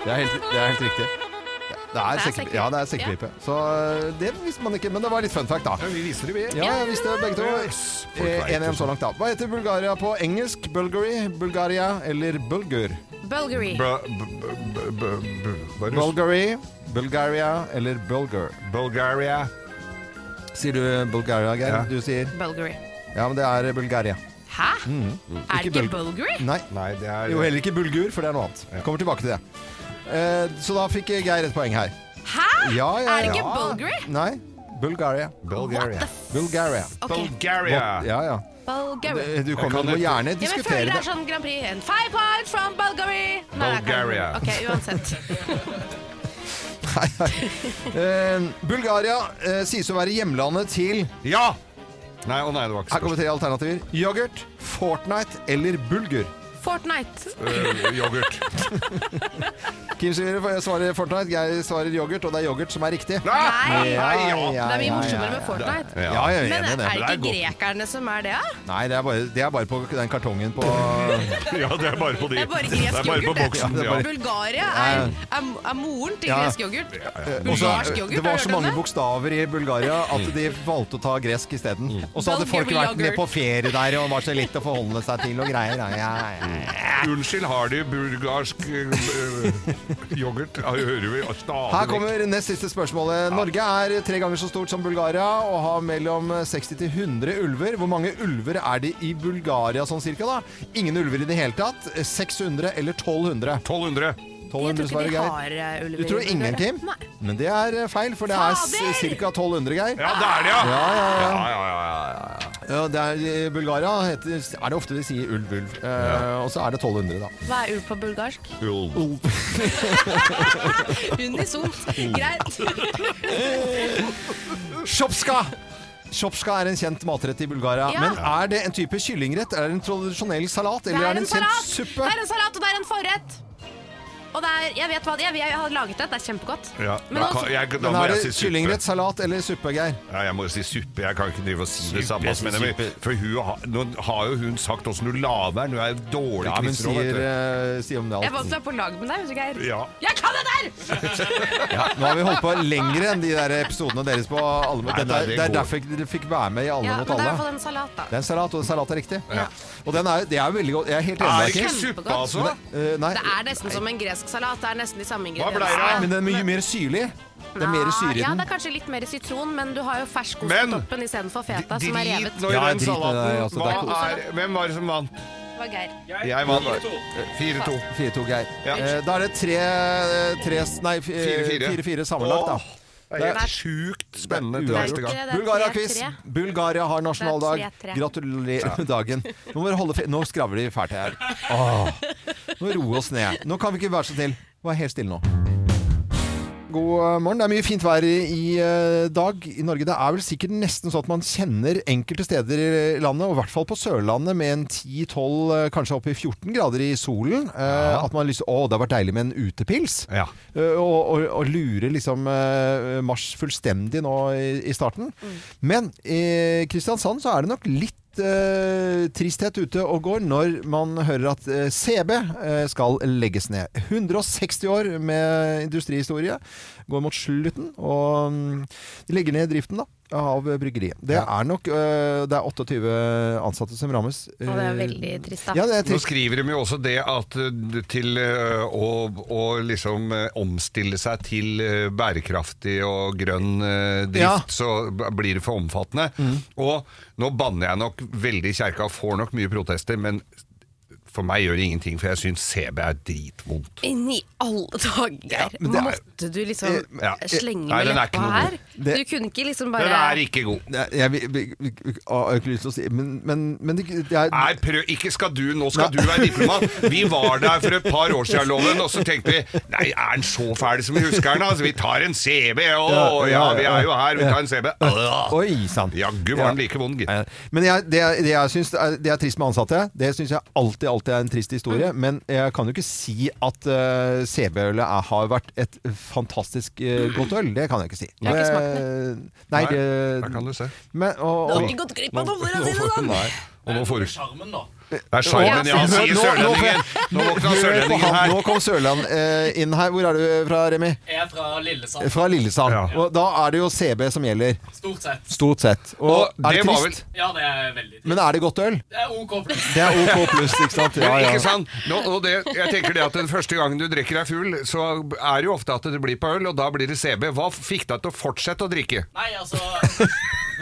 Det er helt, det er helt riktig. Det er, sekkepipe. Ja, det er sekkepipe. Så eh, det visste man ikke, men det var litt fun fact, da.
Ja, vi viser det, vi.
Ja, jeg visste begge to.
Yes. Folk
Eh,
vet
1-1 så langt, da. Hva heter Bulgaria på engelsk? Bulgari, Bulgaria eller Bulgur?
Bulgari.
Bra- b- b- b- b- hva er det?
Bulgari, Bulgaria eller Bulgur?
Bulgaria.
Sier du Bulgaria, Geir?
Ja.
Du sier
Bulgari.
Ja, men det er Bulgaria.
Hæ? Er det
Mhm. Ikke
ikke Bulgari?
Nei.
Nei, det er
Jo, heller ikke Bulgur, for det er noe annet. Kommer tilbake til det. Eh, Så da fikk Geir et poeng her.
Hæ?
Ja, ja,
Er det
ja.
ikke Bulgari?
Nei. Bulgaria.
Bulgaria.
Bulgaria.
Ok.
Hva- Ja, ja.
Bulgaria.
Du kan,
kan
du må gjerne
ikke-
Ja, men jeg
Eh, diskutere
føler det
det.
er sånn Grand Prix. And five points from Bulgaria. Nei, jeg kan-
Bulgaria.
Ok, uansett.
Nei, nei. Eh, Bulgaria eh, sies å være hjemlandet til
Ja! Nei, å nei, det var ikke
Her kommer
spørsmål.
tre alternativer. Yoghurt, Fortnite eller bulgur.
Fortnite.
Øh, yoghurt.
Kim sier jeg svarer Fortnite, jeg svarer yoghurt, og det er yoghurt som er riktig.
Nei!
Nei.
Nei, ja.
ja,
det er mye
ja,
morsommere
ja,
med Fortnite.
Ja.
Ja, jeg er
Men
enig i det.
det
er det
er
ikke
godt.
grekerne som er det, da?
Nei, det er bare, det er bare på den kartongen på
ja, det er bare på de.
Det er bare
Det er
gresk
bare på
yoghurt, det.
Ja,
boksen.
det er
Ja.
bare-
Bulgaria er, er, er moren til
Ja.
gresk yoghurt.
Også,
Bulgarsk yoghurt,
Det
har
var så
du hørt om
mange
det?
bokstaver i Bulgaria at de valgte å ta gresk isteden. Og så hadde folk
Bulgarian
vært nede
yoghurt.
på ferie der og var så litt å forholde seg til og greier. Ja, ja, ja.
Unnskyld, har de bulgarsk øh, yoghurt? Ja, hører vi stadig
Her kommer nest siste spørsmålet. Norge er tre ganger så stort som Bulgaria og har mellom 60 til 100 ulver. Hvor mange ulver er det i Bulgaria sånn cirka, da? Ingen ulver i det hele tatt. 600 eller 1200?
1200.
1200
Jeg tror
svarer
ikke de
Geir.
har eh, ulver.
Du tror
i
ingen,
Bulgaria.
Kim?
Nei.
Men det er feil, for det
Fader!
er ca. 1200, Geir.
Ja, det er det, ja!
Ja, ja, ja.
ja, ja, ja, ja.
Ja, det er, I Bulgaria heter, er det ofte de sier ulv, ulv. Eh, Og så er det 1200, da.
Hva er ulv på bulgarsk?
Ulv.
Unisont. Greit.
Shopska! Shopska er en kjent matrett i Bulgaria.
Ja.
Men er det en type kyllingrett? Er det en tradisjonell salat?
Det
Eller
er en
kjent
salat, det
suppe?
er en salat og det er en forrett. Og det er, jeg vet hva det er, jeg har laget det, det er kjempegodt.
Ja.
Men
da kan-
altså,
jeg, da
Men
må
er
jeg
det
si suppe.
kyllingrett, salat eller suppe, Geir?
Ja, jeg må jo si suppe. Jeg kan ikke drive og si det samme.
jeg
som
sier
henne, men-
suppe.
For hun har, nå har jo hun sagt åssen du lader den. Hun er en dårlig
Ja, men
knister også, vet
sier,
du.
eh, si om det
jeg
alt.
vant meg på lag med deg, vet du Geir.
Ja.
Jeg kan det der!
Ja, nå har vi holdt på lenger enn de der episodene deres på alle.
Nei,
Dette
nei,
er-
det
det er
går.
derfor dere fikk være med i Alle
Ja, men
mot
det er i hvert fall
alle.
en salat da.
Det er en salat, og salat er riktig. Og den er, det er jo veldig godt. Jeg er helt enig
Er
med deg,
det ikke
Kim.
suppe,
Kjempegodt.
altså?
Eh, nei.
Det er nesten som en gresk salat, det er nesten de samme
ble det av?
ingrediensene.
Men den er mye mer syrlig. Det er mer syre i
Ja, det
den.
er kanskje litt mer sitron, men du har jo fersk ost på
Men-
toppen istedenfor feta, som er
Drit
revet.
nå i
Ja, drit
den
i det,
salaten.
altså, det er
Hva er, hvem var det som vant?
Det var Geir.
Jeg vant. 4-2.
4-2, Geir.
Ja.
Eh, Da er det tre, tre Nei, f- eh,
4-4.
4-4 sammenlagt, da.
Det er helt sjukt spennende til
Uavgjort.
neste gang.
Det er
Bulgaria-quiz.
3-3.
Bulgaria har nasjonaldag.
Det er 3-3.
Gratulerer med dagen. Nå må dere holde fe- Nå skravler de fælt her. Åh. Nå roer vi oss ned. Nå kan vi ikke være så til. Vær helt stille nå. God eh, morgen. Det er mye fint vær i i, eh, dag i Norge. Det er vel sikkert nesten sånn at man kjenner enkelte steder i landet, og i hvert fall på Sørlandet, med en 10-12, eh, kanskje opp i 14 grader i solen. eh, At man har lyst til Å, det har vært deilig med en utepils.
Ja.
Eh, Og, og, og lurer liksom eh, mars fullstendig nå i, i starten.
Mm.
Men i Kristiansand så er det nok litt eh, tristhet ute og går når man hører at eh, CB eh, skal legges ned. 160 år med industrihistorie går mot slutten, og mm, de legger ned driften da av bryggeriet. Det er nok eh, det er 28 ansatte som rammes. eh,
Og det er veldig trist, da.
Ja, det er
Nå
trist.
skriver de jo også det at eh, til eh, å, å liksom eh, omstille seg til eh, bærekraftig og grønn eh, drift,
Ja. Mm.
så b- blir det for omfattende. Og nå banner jeg nok veldig i kjerka og får nok mye protester, men for meg gjør det ingenting, for jeg syns CB er dritvondt.
Inni alle dager!
men det er- Eh,
Måtte du liksom
Ja.
slenge
Nei,
med
den er
leppa
ikke noe
her?
god.
Det-
Du kunne ikke liksom
Den
bare
er ikke god.
Jeg, jeg, vil- vil- vil- vil- har ikke lyst til å si Men, men, men det, det er
Nei, prøv, ikke skal du, nå skal du være diplomat. Vi var der for et par år siden, Loven, og så tenkte vi nei, er den så fæl som vi husker den? Altså, vi tar en CB, å
Ja,
ja,
ja,
vi er jo her, vi tar en CB. Åh.
Oi sann.
Jaggu var den like vond, gitt.
Ja. Eh, Men jeg, det, jeg- det jeg syns er, det er trist med ansatte, det syns jeg alltid, alltid er en trist historie.
Mm.
Men jeg kan jo ikke si at eh, CB-ølet er- har vært et fantastisk eh, godt øl. Det kan jeg ikke si. eh,
har ikke smakt
Nei, det,
Der kan du se.
men, og,
Du har
og,
ikke gått glipp av
Nå
dommerne sine,
får-
sånn!
Nei. Og nå får du
Sjarmen, da.
Det er sjarmen, ja,
Hør,
sier
nå- nå får jeg-
sørlendingen. Nå våkna
Hør på
sørlendingen
han,
her.
nå kom Sørland eh, inn her. Hvor er du fra, Remi?
Jeg er fra Lillesand,
Fra Lillesand.
Ja.
Og da er det jo CB som gjelder.
stort sett.
Stort sett. Og,
Og
er det
det var
trist?
Ja, det er veldig
Men er det godt øl?
Det er OK pluss.
Det er OK pluss, ikke sant? Ja, ja.
Ikke sant? Nå, og det, jeg tenker det at Den første gangen du drikker deg full, så er det jo ofte at det blir på øl, og da blir det CB. Hva fikk deg til å fortsette å drikke?
Nei, altså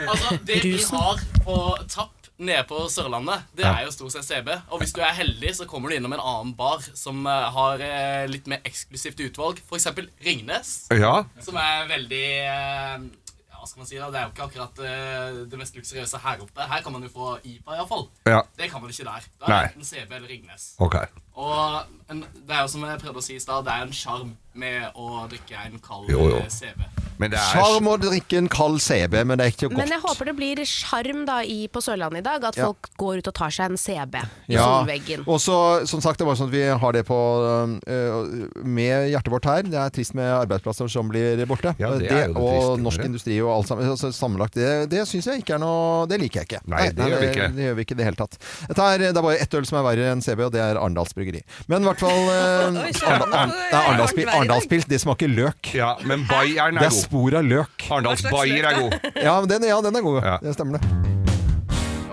Altså, det vi har på tapp nede på Sørlandet, det er jo stort sett CB. Og hvis du er heldig, så kommer du innom en annen bar som eh, har eh, litt mer eksklusivt utvalg. For eksempel Ringnes,
Ja,
som er veldig eh, ja, hva skal man si da, Det er jo ikke akkurat eh, det mest luksuriøse her oppe. Her kan man jo få IPA, iallfall.
Ja.
Det kan man ikke der. Da er
Nei.
det enten CB eller Ringnes.
Ok.
Og en, det er jo som jeg prøvde å si i stad, det er en sjarm med å drikke en kald
Jo, jo.
eh, CB.
Men det er
Sjarm å drikke en kald CB, men det er ikke godt.
Men jeg håper det blir sjarm da i- på Sørlandet i dag, at
Ja.
folk går ut og tar seg en CB i
Ja,
solveggen.
og så, som sagt, det var sånn at vi har det på øh, med hjertet vårt her. Det er trist med arbeidsplasser som blir borte.
Ja, det er jo det
og
triste,
norsk
det.
industri og alt sammen. Altså, sammenlagt, det, det syns jeg ikke er noe Det liker jeg ikke.
Nei, det gjør vi
det,
ikke.
Det gjør vi ikke i det hele tatt. Dette er, det er bare ett øl som er verre enn CB, og det er Arendals Bryggeri. Men i hvert fall øh,
Oi,
Arendal-
kjører han på-
Nei, Arendals Pil- Arendals Pils, det smaker løk.
Ja, men Bayern
Det
er
er
god.
spor av løk.
Arendals
Hva slags
Bayer er god.
Ja, men den, ja, den er god.
Ja.
Det stemmer det.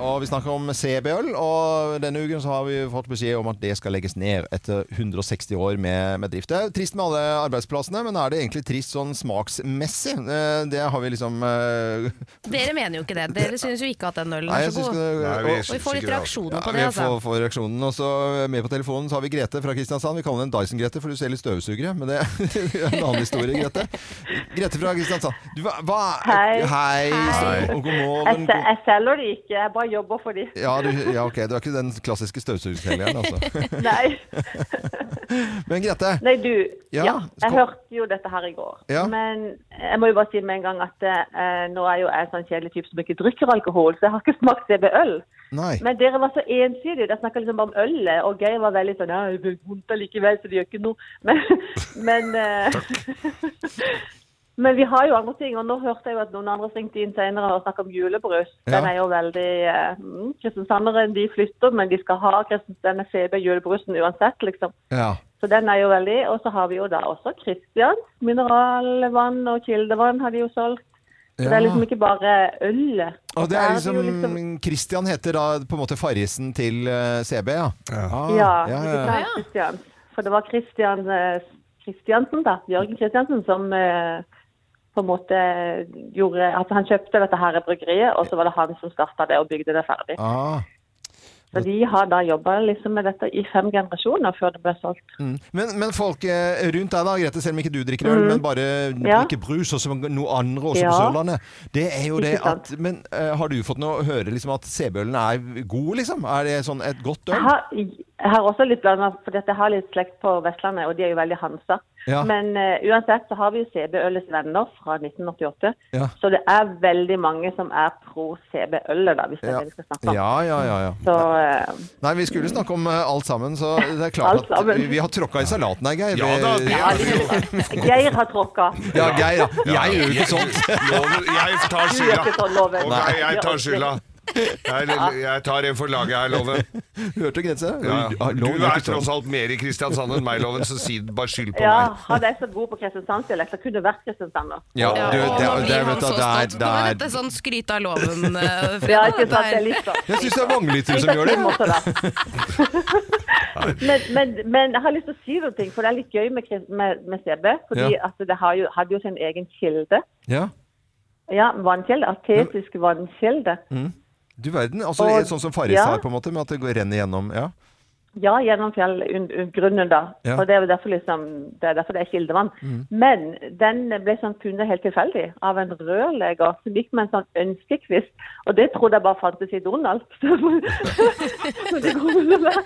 Og Vi snakker om CB-øl, og denne uken så har vi fått beskjed om at det skal legges ned etter 160 år med, med drift. Det er jo trist med alle arbeidsplassene, men er det egentlig trist sånn smaksmessig? Eh, Det har vi liksom eh,
Dere mener jo ikke det. Dere synes jo ikke at den ølen
Nei,
er
jeg
så
syns
god.
Nei,
det
Og vi får litt
sikkert-
reaksjoner
ja,
på det,
vi får,
altså.
får reaksjonen. Og så eh, med på telefonen så har vi Grete fra Kristiansand. Vi kaller henne Dyson-Grete, for du ser litt støvsugere. Men det er en annen historie, Grete. Grete fra Kristiansand. Du, hva, hva-
Hei.
Hei.
Hei.
Og god
Jeg,
morgen.
se- jeg selger de ikke, jeg bare jobber for de.
Ja, du, ja, ok. Du er ikke den klassiske støvsugerselgeren, altså.
Nei,
Men Grete,
Nei du.
Ja,
Ja,
skal-
jeg hørte jo dette her i går.
Ja.
Men jeg må jo bare si med en gang at eh, nå er jo jeg en sånn kjedelig type som ikke drikker alkohol, så jeg har ikke smakt CB-øl.
nei.
Men dere var så ensidige. Dere snakka liksom bare om ølet, og Geir var veldig sånn Ja, det blir vondt allikevel, så det gjør ikke noe. Men, men eh, Men vi har jo andre ting, og nå hørte jeg jo at noen andre ringte inn senere og snakket om julebrus. Den
Ja.
er jo veldig eh, mm, Kristiansandere de flytter, men de skal ha Kristiansand CB julebrusen uansett, liksom.
Ja.
Så den er jo veldig Og så har vi jo da også Christians mineralvann og kildevann har de jo solgt. Så det er liksom ikke bare ølet.
Og det
Så
er
jo liksom-
liksom Christian heter da på en måte farrisen til eh, CB, ja? Ah,
Ja,
ja,
ikke
ja, ja.
sant, Christian. For det var Christian eh, Christiansen, da. Jørgen Christiansen som eh, på en måte gjorde Altså han kjøpte dette her bryggeriet, og så var det han som starta det og bygde det ferdig.
Ah,
Så de har da jobba liksom med dette i fem generasjoner før det ble solgt.
mm. men, men folk eh, rundt deg da, Grete, selv om ikke du drikker øl, men bare
Mm. Ja.
drikker brus og så noe andre også på
Ja.
Sørlandet, det er jo det
Ikke sant.
at Men eh, har du fått noe å høre liksom at CB-ølen er god, liksom? Er det sånn et godt
Jeg
øl?
har, jeg har også litt blanda, for jeg har litt slekt på Vestlandet, og de er jo veldig Hansa.
Ja.
Men eh, uansett så har vi jo CB-ølets venner fra 1988.
Ja.
Så det er veldig mange som er pro CB-ølet, da, hvis det er
Ja.
det vi skal snakke om.
ja, ja, ja. ja.
Så eh,
Nei, vi skulle snakke om eh, alt sammen, så det er klart
Alt
at vi,
sammen.
vi har tråkka i salaten her, Geir.
Ja da, det
Ja,
er
de- Geir har tråkka.
Ja, Geir, ja. Jeg gjør jo ikke sånn. sånt.
Loven, jeg tar
Du gjør
skylda.
ikke sånn, Loven.
Ok, jeg tar skylda. Jeg, jeg tar en for laget her, Loven.
Hørte grense?
Ja.
Ja,
Du
lov,
er
ikke sånn.
tross alt mer i Kristiansand enn meg, Loven, så si bare skyld på
Ja,
meg.
hadde jeg vært god på kristiansandsdialekt, så kunne jeg vært kristiansander.
Ja,
Ja,
du,
og
det,
nå
det,
blir han
vet du,
så
det er,
stolt.
det
Nå er
er
dette sånn skryt av loven eh,
Ja,
fredag.
ikke sant,
Det
jeg
er-
liker det. sånn.
Jeg syns det er vanglytere som gjør det.
Det måtte være. men, men, men jeg har lyst til å si noe, ting, for det er litt gøy med, kris- med, med CB. Fordi
Ja.
at det har jo, hadde jo sin egen kilde.
Ja,
Ja, vannkilde. Artetisk vannkilde.
du verden. Altså,
Og-
sånn som Farris
ja.
her, på en måte, med at det går- renner gjennom. Ja.
Ja, gjennom fjellgrunnen, da.
Ja. Mm.
Og det er jo derfor, liksom, det er, derfor det er kildevann. Men den ble sånn funnet helt tilfeldig av en rørlegger som gikk med en sånn ønskekvist. Og det trodde jeg bare fantes i Donald. Så det går vel å være.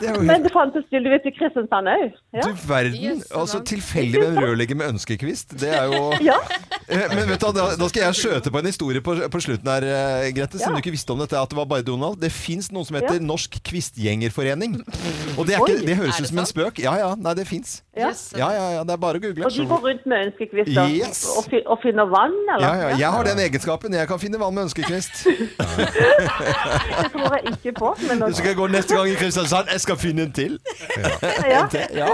Det er jo
Men det fantes tydeligvis i Kristiansand òg. Ja.
Du verden!
Yes,
Altså
sant.
tilfeldig med en rørlegger med ønskekvist. Det er jo
Ja.
Eh, Men vet du, hva, da, da skal jeg skjøte på en historie på, på slutten her, eh, Grete, som
Ja.
du ikke visste om dette, at det var bare Donald. Det fins noe som heter
Ja.
Norsk Kvistgjengerforening. Og det, er ikke, det høres
Er det
ut som en
sant?
spøk. Ja ja, nei, det fins.
Ja.
Ja, ja, ja, det er bare å google.
Og de går rundt med ønskekvister
Yes.
og, fi og finner vann, eller?
Ja, ja, jeg har den egenskapen. Jeg kan finne vann med ønskekvist.
Det tror jeg ikke på. Men nå-
Så skal jeg gå neste gang i Kristiansand. Jeg skal finne en til.
ja.
Det, ja.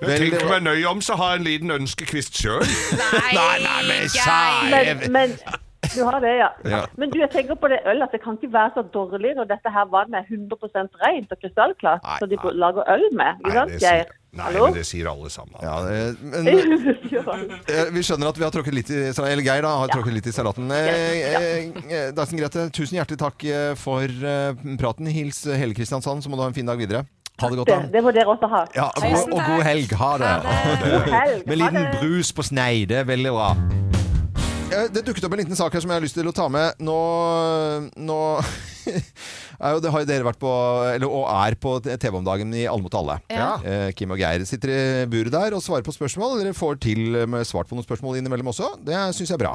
Vel,
Tenk meg nøye om, så har jeg en liten ønskekvist sjøl.
Nei, nei, men
men,
sær
men du har det, ja.
Ja.
Men du, jeg tenker på det øl, at det kan ikke være så dårlig når dette her vannet er 100 rent og krystallklart,
Nei,
så de
nei.
lager øl med. Ikke sant, Geir?
nei,
Hallo?
men det sier alle sammen.
ja, det- men eh, vi skjønner at vi har tråkket litt i salaten. Eller Geir, da, har tråkket litt i salaten. Eh, eh, Dyson Grete, tusen hjertelig takk eh, for eh, praten. Hils hele Kristiansand, så må du ha en fin dag videre. Ha det godt,
Det,
da.
det må dere også ha.
Ja, og, og god helg. Ha det.
God helg.
Med
Ha
liten
det.
brus på snei. Det er veldig bra. Eh, Det dukket opp en liten sak her som jeg har lyst til å ta med. Nå, nå er jo, det har jo dere vært på, eller, og er på TV om dagen i Alle mot alle.
Ja.
Eh, Kim og Geir sitter i buret der og svarer på spørsmål. Dere får til med svart på noen spørsmål innimellom også. Det syns jeg er bra.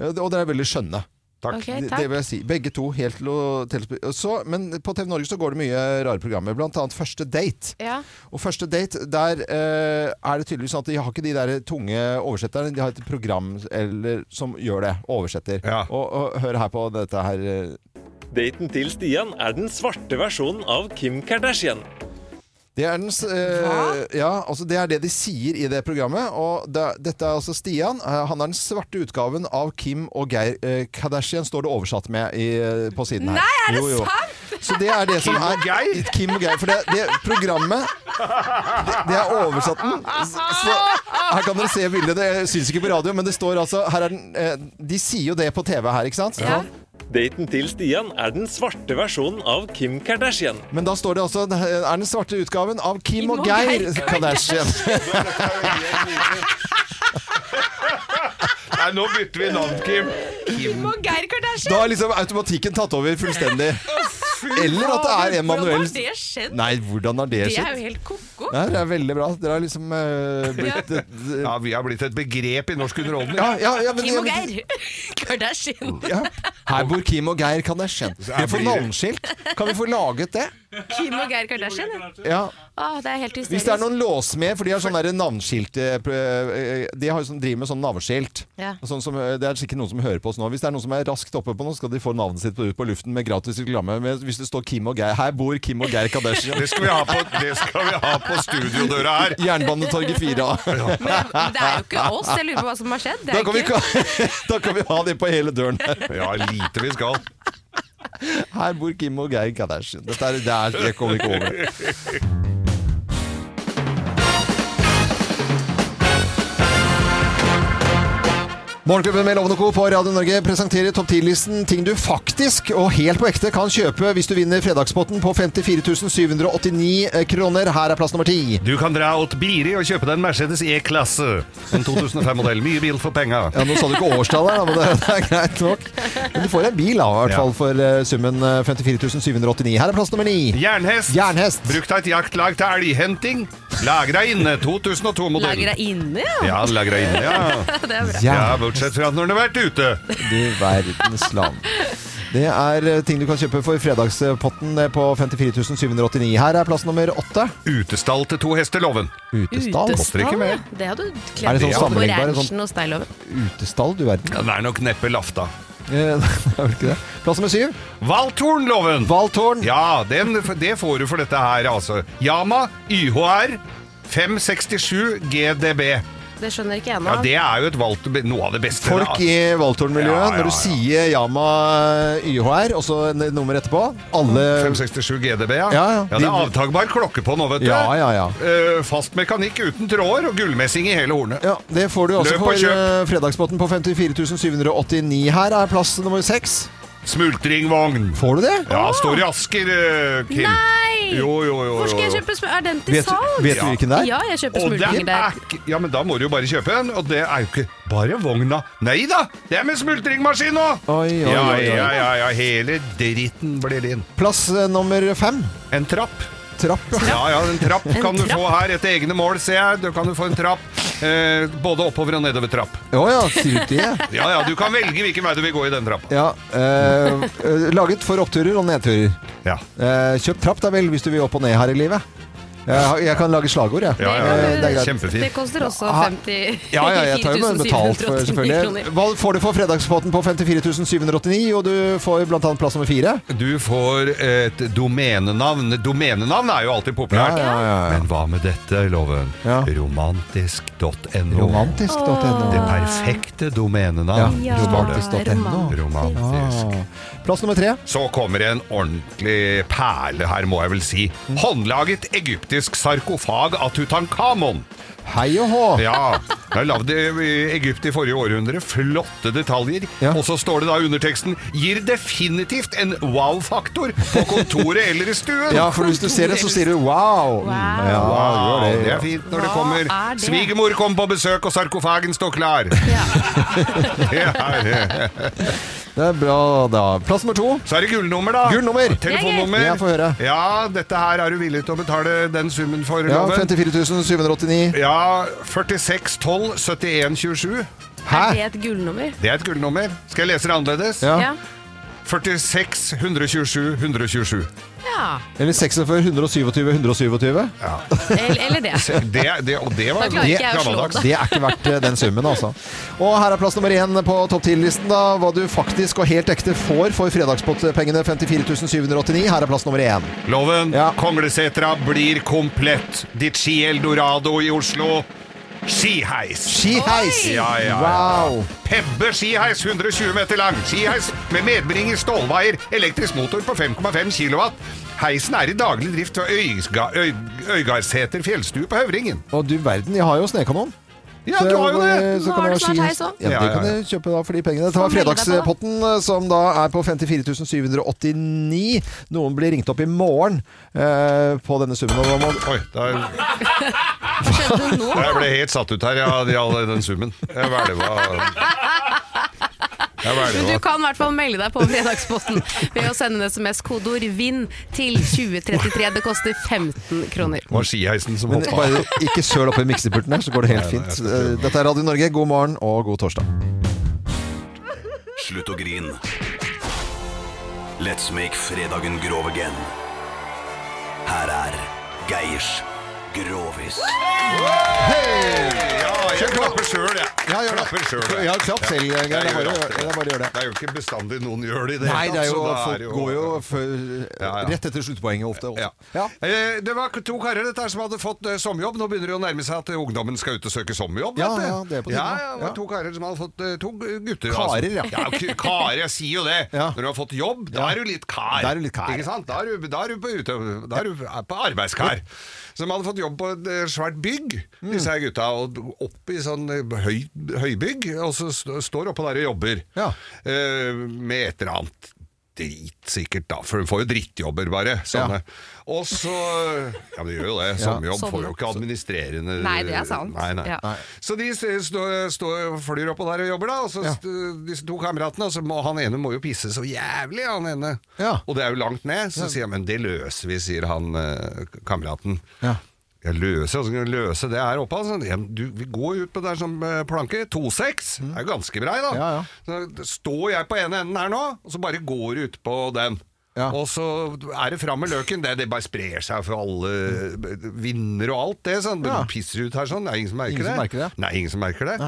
Eh, Og dere er veldig skjønne.
Takk.
Ok,
Det-
takk.
Det vil jeg si. Begge to helt til å til- så, Men på TV Norge så går det mye rare programmer, blant annet Første date.
Ja.
Og første date, der eh, er det tydeligvis sånn at de har ikke de der tunge oversetterne. De har et program eller, som gjør det. Oversetter. Og, og hør her på dette her. eh.
Daten til Stian er den svarte versjonen av Kim Kardashian.
Det er, den, s- eh, ja, altså det er det de sier i det programmet. Og det, dette er altså Stian. Eh, Han er den svarte utgaven av Kim og Geir eh, Kardashian, står det oversatt med i, eh, på siden her.
Nei, er det
sant?! Så det er det som
Kim
er
og Geir?
Kim og Geir. For det, det programmet Det, det er oversatt den. Så, her kan dere se bildet. Det syns ikke på radio, men det står altså her er den, eh, De sier jo det på TV her, ikke sant?
Daten til Stian er den svarte versjonen av Kim Kardashian.
Men da står det også det er den svarte utgaven av Kim,
Kim
og
og
Geir
Geir.
Kardashian.
Nei, nå bytter vi navn, Kim.
Kim og Geir Kardashian!
Da er liksom automatikken tatt over fullstendig. Eller at det er en manuell
Hvordan har det skjedd?
Nei, hvordan har det
Det er
skjedd?
jo helt ko-ko.
Nei, det er veldig bra. Dere har liksom eh, blitt et
Ja, vi har blitt et begrep i norsk underholdning.
Ja, ja, ja, men-
Kim og Geir Kardashian.
Her bor Kim og Geir Kardashian. Vi får navneskilt. Kan vi få laget det?
Kim og Geir Kardashian. ja.
Ja.
Åh, det er helt hysterisk.
Hvis det er noen låsmed, for de har sånne der navnskilt eh, pr- eh, De har jo sånn, driver med sånn navneskilt.
Ja.
Og Sånn som, eh, det er sikkert noen som hører på oss nå. Hvis det er noen som er raskt oppe på noe, skal de få navnet sitt på- ut på luften med gratis reklame. Men Hvis det står Kim og Geir Her bor Kim og Geir Kardashian.
Det skal vi ha på, det skal vi ha på studiodøra her.
Jernbanetorget 4A.
Men det er jo ikke oss. Jeg lurer på hva som har skjedd. Det
Da
er
kan, vi,
ikke-
ka- da kan vi ha det på hele døren her.
Ja, lite vi skal.
Her bor Kim og Geir Kardashian. Dette er, det, er, det kommer vi ikke over. Morgenklubben med Lovende Co. på Radio Norge presenterer topp 10-listen ting du faktisk og helt på ekte kan kjøpe hvis du vinner fredagspotten på 54 789 kroner. Her er plass nummer ti.
Du kan dra åt Biri og kjøpe deg en Mercedes E-klasse. En 2005-modell. Mye bil for penga.
Ja, Nå sa du ikke årstallet, da, men det, det er greit nok. Men du får en bil, da, i hvert fall for eh, summen eh, 54 789. Her er plass nummer ni.
Jernhest.
Jernhest.
Bruk deg et jaktlag til elghenting. Lagra inne. 2002-modell.
Lagra inne,
Ja, lagra inne, ja.
Det er bra.
Ja.
Ja, bortsett fra når den har vært ute.
Du verdens land. Det er eh, ting du kan kjøpe for fredagspotten eh, på 54 789. Her er plass nummer åtte.
Utestall til to hester, loven.
Utestall?
Koster ikke mer.
Det hadde
Er
du
det
kledd
sånn
på
sammenlignbar,
oransjen
sånn-
og steiloven.
Utestall, du verden.
Ja, det er nok neppe Lafta.
Eh, Det er vel ikke det. Plass nummer syv.
Valtorn, loven!
Valtorn.
Ja, den, det får du for dette her, altså. Yama YHR 567 GDB.
Det skjønner ikke jeg nå.
Ja, det er jo et valgt, noe av det beste.
Folk
da.
i Valtorn-miljøet,
Ja, ja,
når du sier Yama YHR, og så n- nummeret etterpå Alle
567 GDB, ja.
Ja, ja.
Det
De-
er avtagbar klokke på nå, vet du.
Ja, ja, ja.
Eh, fast mekanikk uten tråder og gullmessing i hele hornet.
Ja, det får du også
Løp og
for
kjøp.
eh, fredagspotten på 54 789. Her er plass nummer seks.
Smultringvogn.
Får du det?
Ja, står i Asker, eh, Kim.
Nei!
Jo, jo, jo, jo.
Hvor skal jeg
jo.
kjøpe smul... Er den til
Vet-
salg?
vet du hvilken det er?
Ja, jeg kjøper
Og den
smultringer
er
der.
ikke Ja, men da må du jo bare kjøpe en, og det er jo ikke bare vogna. Nei da, det er med smultringmaskin nå!
Oi, oi,
ja,
oi, oi.
ja, ja, ja, hele dritten blir din.
Plass eh, nummer fem.
En trapp.
Trapp,
Ja, ja, en trapp
En
kan du
trapp.
få her etter egne mål, ser jeg. Du kan jo få en trapp. Eh, både oppover og nedover trapp.
Å ja, sier du det?
Ja, ja, du kan velge hvilken vei du vil gå i den trappa.
Ja, eh, eh, laget for oppturer og nedturer.
Ja.
Eh, kjøp trapp da vel hvis du vil opp og ned her i livet. Jeg, har- jeg kan lage slagord, jeg.
Ja, ja,
Eh, det er greit.
Det koster også
Ah,
50
Ja, ja, jeg tar jo med betalt, for,
4789
selvfølgelig.
kroner.
Hva får du for fredagspotten på 54 789? Og du får blant annet plass nummer fire.
Du får et domenenavn. Domenenavn er jo alltid populært. Men hva med dette, Loven? Romantisk.no.
Romantisk.no.
Det perfekte domenenavn.
Ja,
står det.
romantisk.no.
Romantisk.
Plass nummer tre.
Så kommer en ordentlig perle her, må jeg vel si. Håndlaget egyptisk sarkofag av Tutankhamon.
Hei og hå!
Ja. Jeg lagde i Egypt i forrige århundre. Flotte detaljer. Og så står det da i underteksten 'Gir definitivt en wow-faktor på kontoret eller i stuen'.
Ja, for hvis du ser det, så sier du wow. Ja, gjør det,
det,
ja.
er fint når det
Hva
kommer.
er det?
Svigermor kom på besøk, og sarkofagen står klar. det er det.
Det er bra, da. Plass nummer to.
Så er det gullnummer, da.
Gullnummer.
Telefonnummer.
Jeg får høre.
Ja, dette her er du villig til å betale den summen for,
Ja,
Loven?
54 789.
Ja, 46 12 71 27.
Er det et gullnummer?
Det er et gullnummer. Skal jeg lese det annerledes?
Ja.
46 127 127.
Ja.
Eller 46 127 127.
Eller, eller det.
Se, Det, det, og det var
Da klarer ikke jeg å slå
gammeldags.
Det er ikke verdt eh, den summen, altså. Og her er plass nummer én på topp 10-listen, da. Hva du faktisk og helt ekte får for fredagspengene 54 789. Her er plass nummer én.
Loven, Konglesetra blir komplett. Ditt Ski-Eldorado i Oslo. Skiheis.
Skiheis? Oi!
Ja, ja, ja.
Wow.
Pebbe skiheis, 120 meter lang. Skiheis med medbringer, stålvaier, elektrisk motor på 5,5 kW. Heisen er i daglig drift ved Øyga- Øy- Øygardsæter fjellstue på Høvringen.
Og du verden, jeg har jo snøkanon.
Ja, du har jo det.
Så
Nå
kan
har
jeg
du
ha
snart
ski-
heis også.
Ja,
Ja,
det
ja,
kan
ja.
du kjøpe da for de pengene. Dette var
melde deg på, da.
fredagspotten, eh, som da er på 54 789. Noen blir ringt opp i morgen eh, på denne summen. Og da må
Oi, der
Hva skjedde nå?
Jeg ble helt satt ut her, jeg hadde all den summen. Jeg hvelva. Jeg
Men du
hvelva.
kan i hvert fall melde deg på Fredagsposten ved å sende en SMS kodeord VINN til 2033. Det koster 15 kroner.
Det var skiheisen som
Men
hoppa.
bare ikke søl oppi miksepulten her, så går det helt
Nei, nei, jeg
fint.
skal ikke gjøre det.
Dette er Radio Norge, god morgen og god torsdag.
Slutt å grine. Let's make fredagen grov again. Her er Geirs Grovis.
Ja, jeg klapper sjøl, jeg.
Ja, gjør det.
Klapper selv, jeg.
Ja, klapp selv, Geir. Det er
Jeg
bare å
gjør
gjøre- det er bare å gjøre det.
Det er jo ikke bestandig noen gjør det i det
Nei, det er jo,
så da
folk
det
går jo før,
Ja, ja.
rett etter sluttpoenget ofte.
Ja. Eh, Det var to karer dette her som hadde fått eh, sommerjobb. Nå begynner det å nærme seg at eh, ungdommen skal ut og søke sommerjobb.
Ja,
vet du.
ja, det er på tide
ja,
nå.
ja, det var to karer som hadde fått eh, To gu- gutter.
Karer,
altså.
ja.
k- Karer, jeg sier jo det. Når du har fått jobb, da er du litt kar.
Da er du litt kar.
Ikke sant? Da er du, da er du, på, ute, da er du er på arbeidskar. Som hadde fått jobb på et eh, svært bygg, disse her gutta. Og opp i sånn eh, høy, høybygg, og så st står oppå der og jobber. Eh, med et eller annet drit, sikkert, da. For hun får jo drittjobber, bare. Sånne. Og så Ja, det gjør jo det.
Ja.
Sommerjobb får jo
Sånn.
ikke administrerende
Nei, det er sant.
Nei, nei.
Ja. Nei.
Så de s- står, står, flyr oppå der og jobber, da. Og så st- disse to kameratene, og så må han ene må jo pisse så jævlig, han ene. Og det er jo langt ned. Så sier han men det løser vi, sier han eh, kameraten.
Ja.
Jeg løser, altså, kan jeg løse det her oppe altså. ja, men du, Vi går ut på det her som eh, planke 2-6, det er jo ganske brei da Så står jeg på ene enden her nå Og så bare går du ut på den Og så er det frem med løken Det, det bare sprer seg for alle eh, Vinner og alt det sånn.
Ja.
Du pisser ut her sånn, det er ingen som merker,
Ingen som
det.
merker det.
Nei, ingen som merker det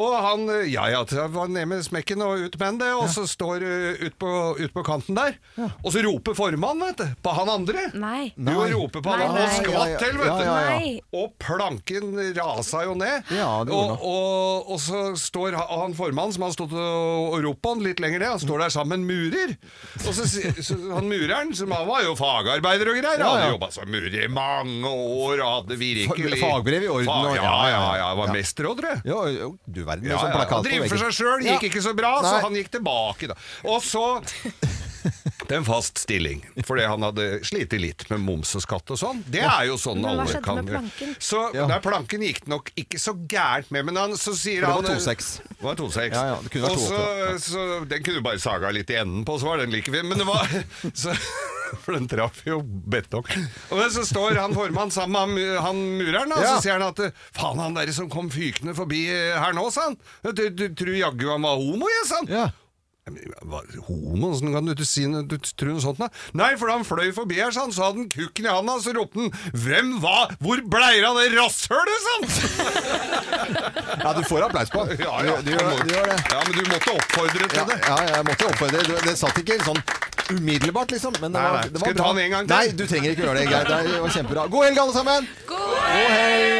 Og han, eh, ja ja, så jeg var ned med smekken og ut med den det Og så står eh, ut på, ut på kanten der Og så roper formannen, vet du På han andre
Nei.
Du roper på
Nei,
han
nei.
Og skvatt til, vet du
Ja, ja, ja.
Nei.
og planken rasa jo ned.
det gjorde
og, og, og så står ha- han formannen, som har stått og, og ropt på han litt lenger ned, han står der sammen med en murer. Og så, si- så han mureren, som han var jo fagarbeider og greier,
Ja, ja.
hadde jobba som murer i mange år og hadde virkelig
Fa- fagbrev i orden og-
Fa ja,
ja, ja,
ja, ja. Var
ja.
mester òg, tror jeg.
Ja, jo, du verden. med
Ja,
sånn
ja,
plakat på
Han driver for
veggen.
seg sjøl,
Ja.
gikk ikke så bra, så
Nei.
han gikk tilbake, da. Og så til en fast stilling, fordi han hadde slitt litt med moms og skatt og sånn. Det
Ja.
er jo sånn
Men hva
alle
skjedde
kan
med planken?
Så nei, planken gikk det nok ikke så gærent med, men han, så sier
For
han eh,
det var 2,6.
Det var 2,6.
Ja, ja, det kunne vært
Og så-
2,8,
så Den kunne du bare saga litt i enden på, så var den like fin. Men det var så, For den traff jo betong. Og men så står han formann sammen med han, han mureren, og
Ja.
så sier han at Faen, han derre som kom fykende forbi eh, her nå, sa han. Du, du tror jaggu han var homo, jeg, sa han. «Ja, men hva- Homo? Åssen kan du ikke si noe, du tror noe sånt? Da? Nei, for da han fløy forbi her, sa han, så hadde han kukken i handa, så ropte han 'Hvem var Hvor bleier av det rasshølet?' sa han!
Ja, du får applaus på han.
Ja, ja.
Du, du, gjør- du gjør det.
Ja, men du måtte oppfordre til
Ja,
det.
ja, jeg måtte oppfordre. Det, det satt ikke sånn umiddelbart, liksom. Men det
Nei,
var,
nei.
det var
Skal vi
bra.
ta den en gang til?
Nei, du trenger ikke gjøre det. Geir. Det var kjempebra. God helg, alle sammen! God helg!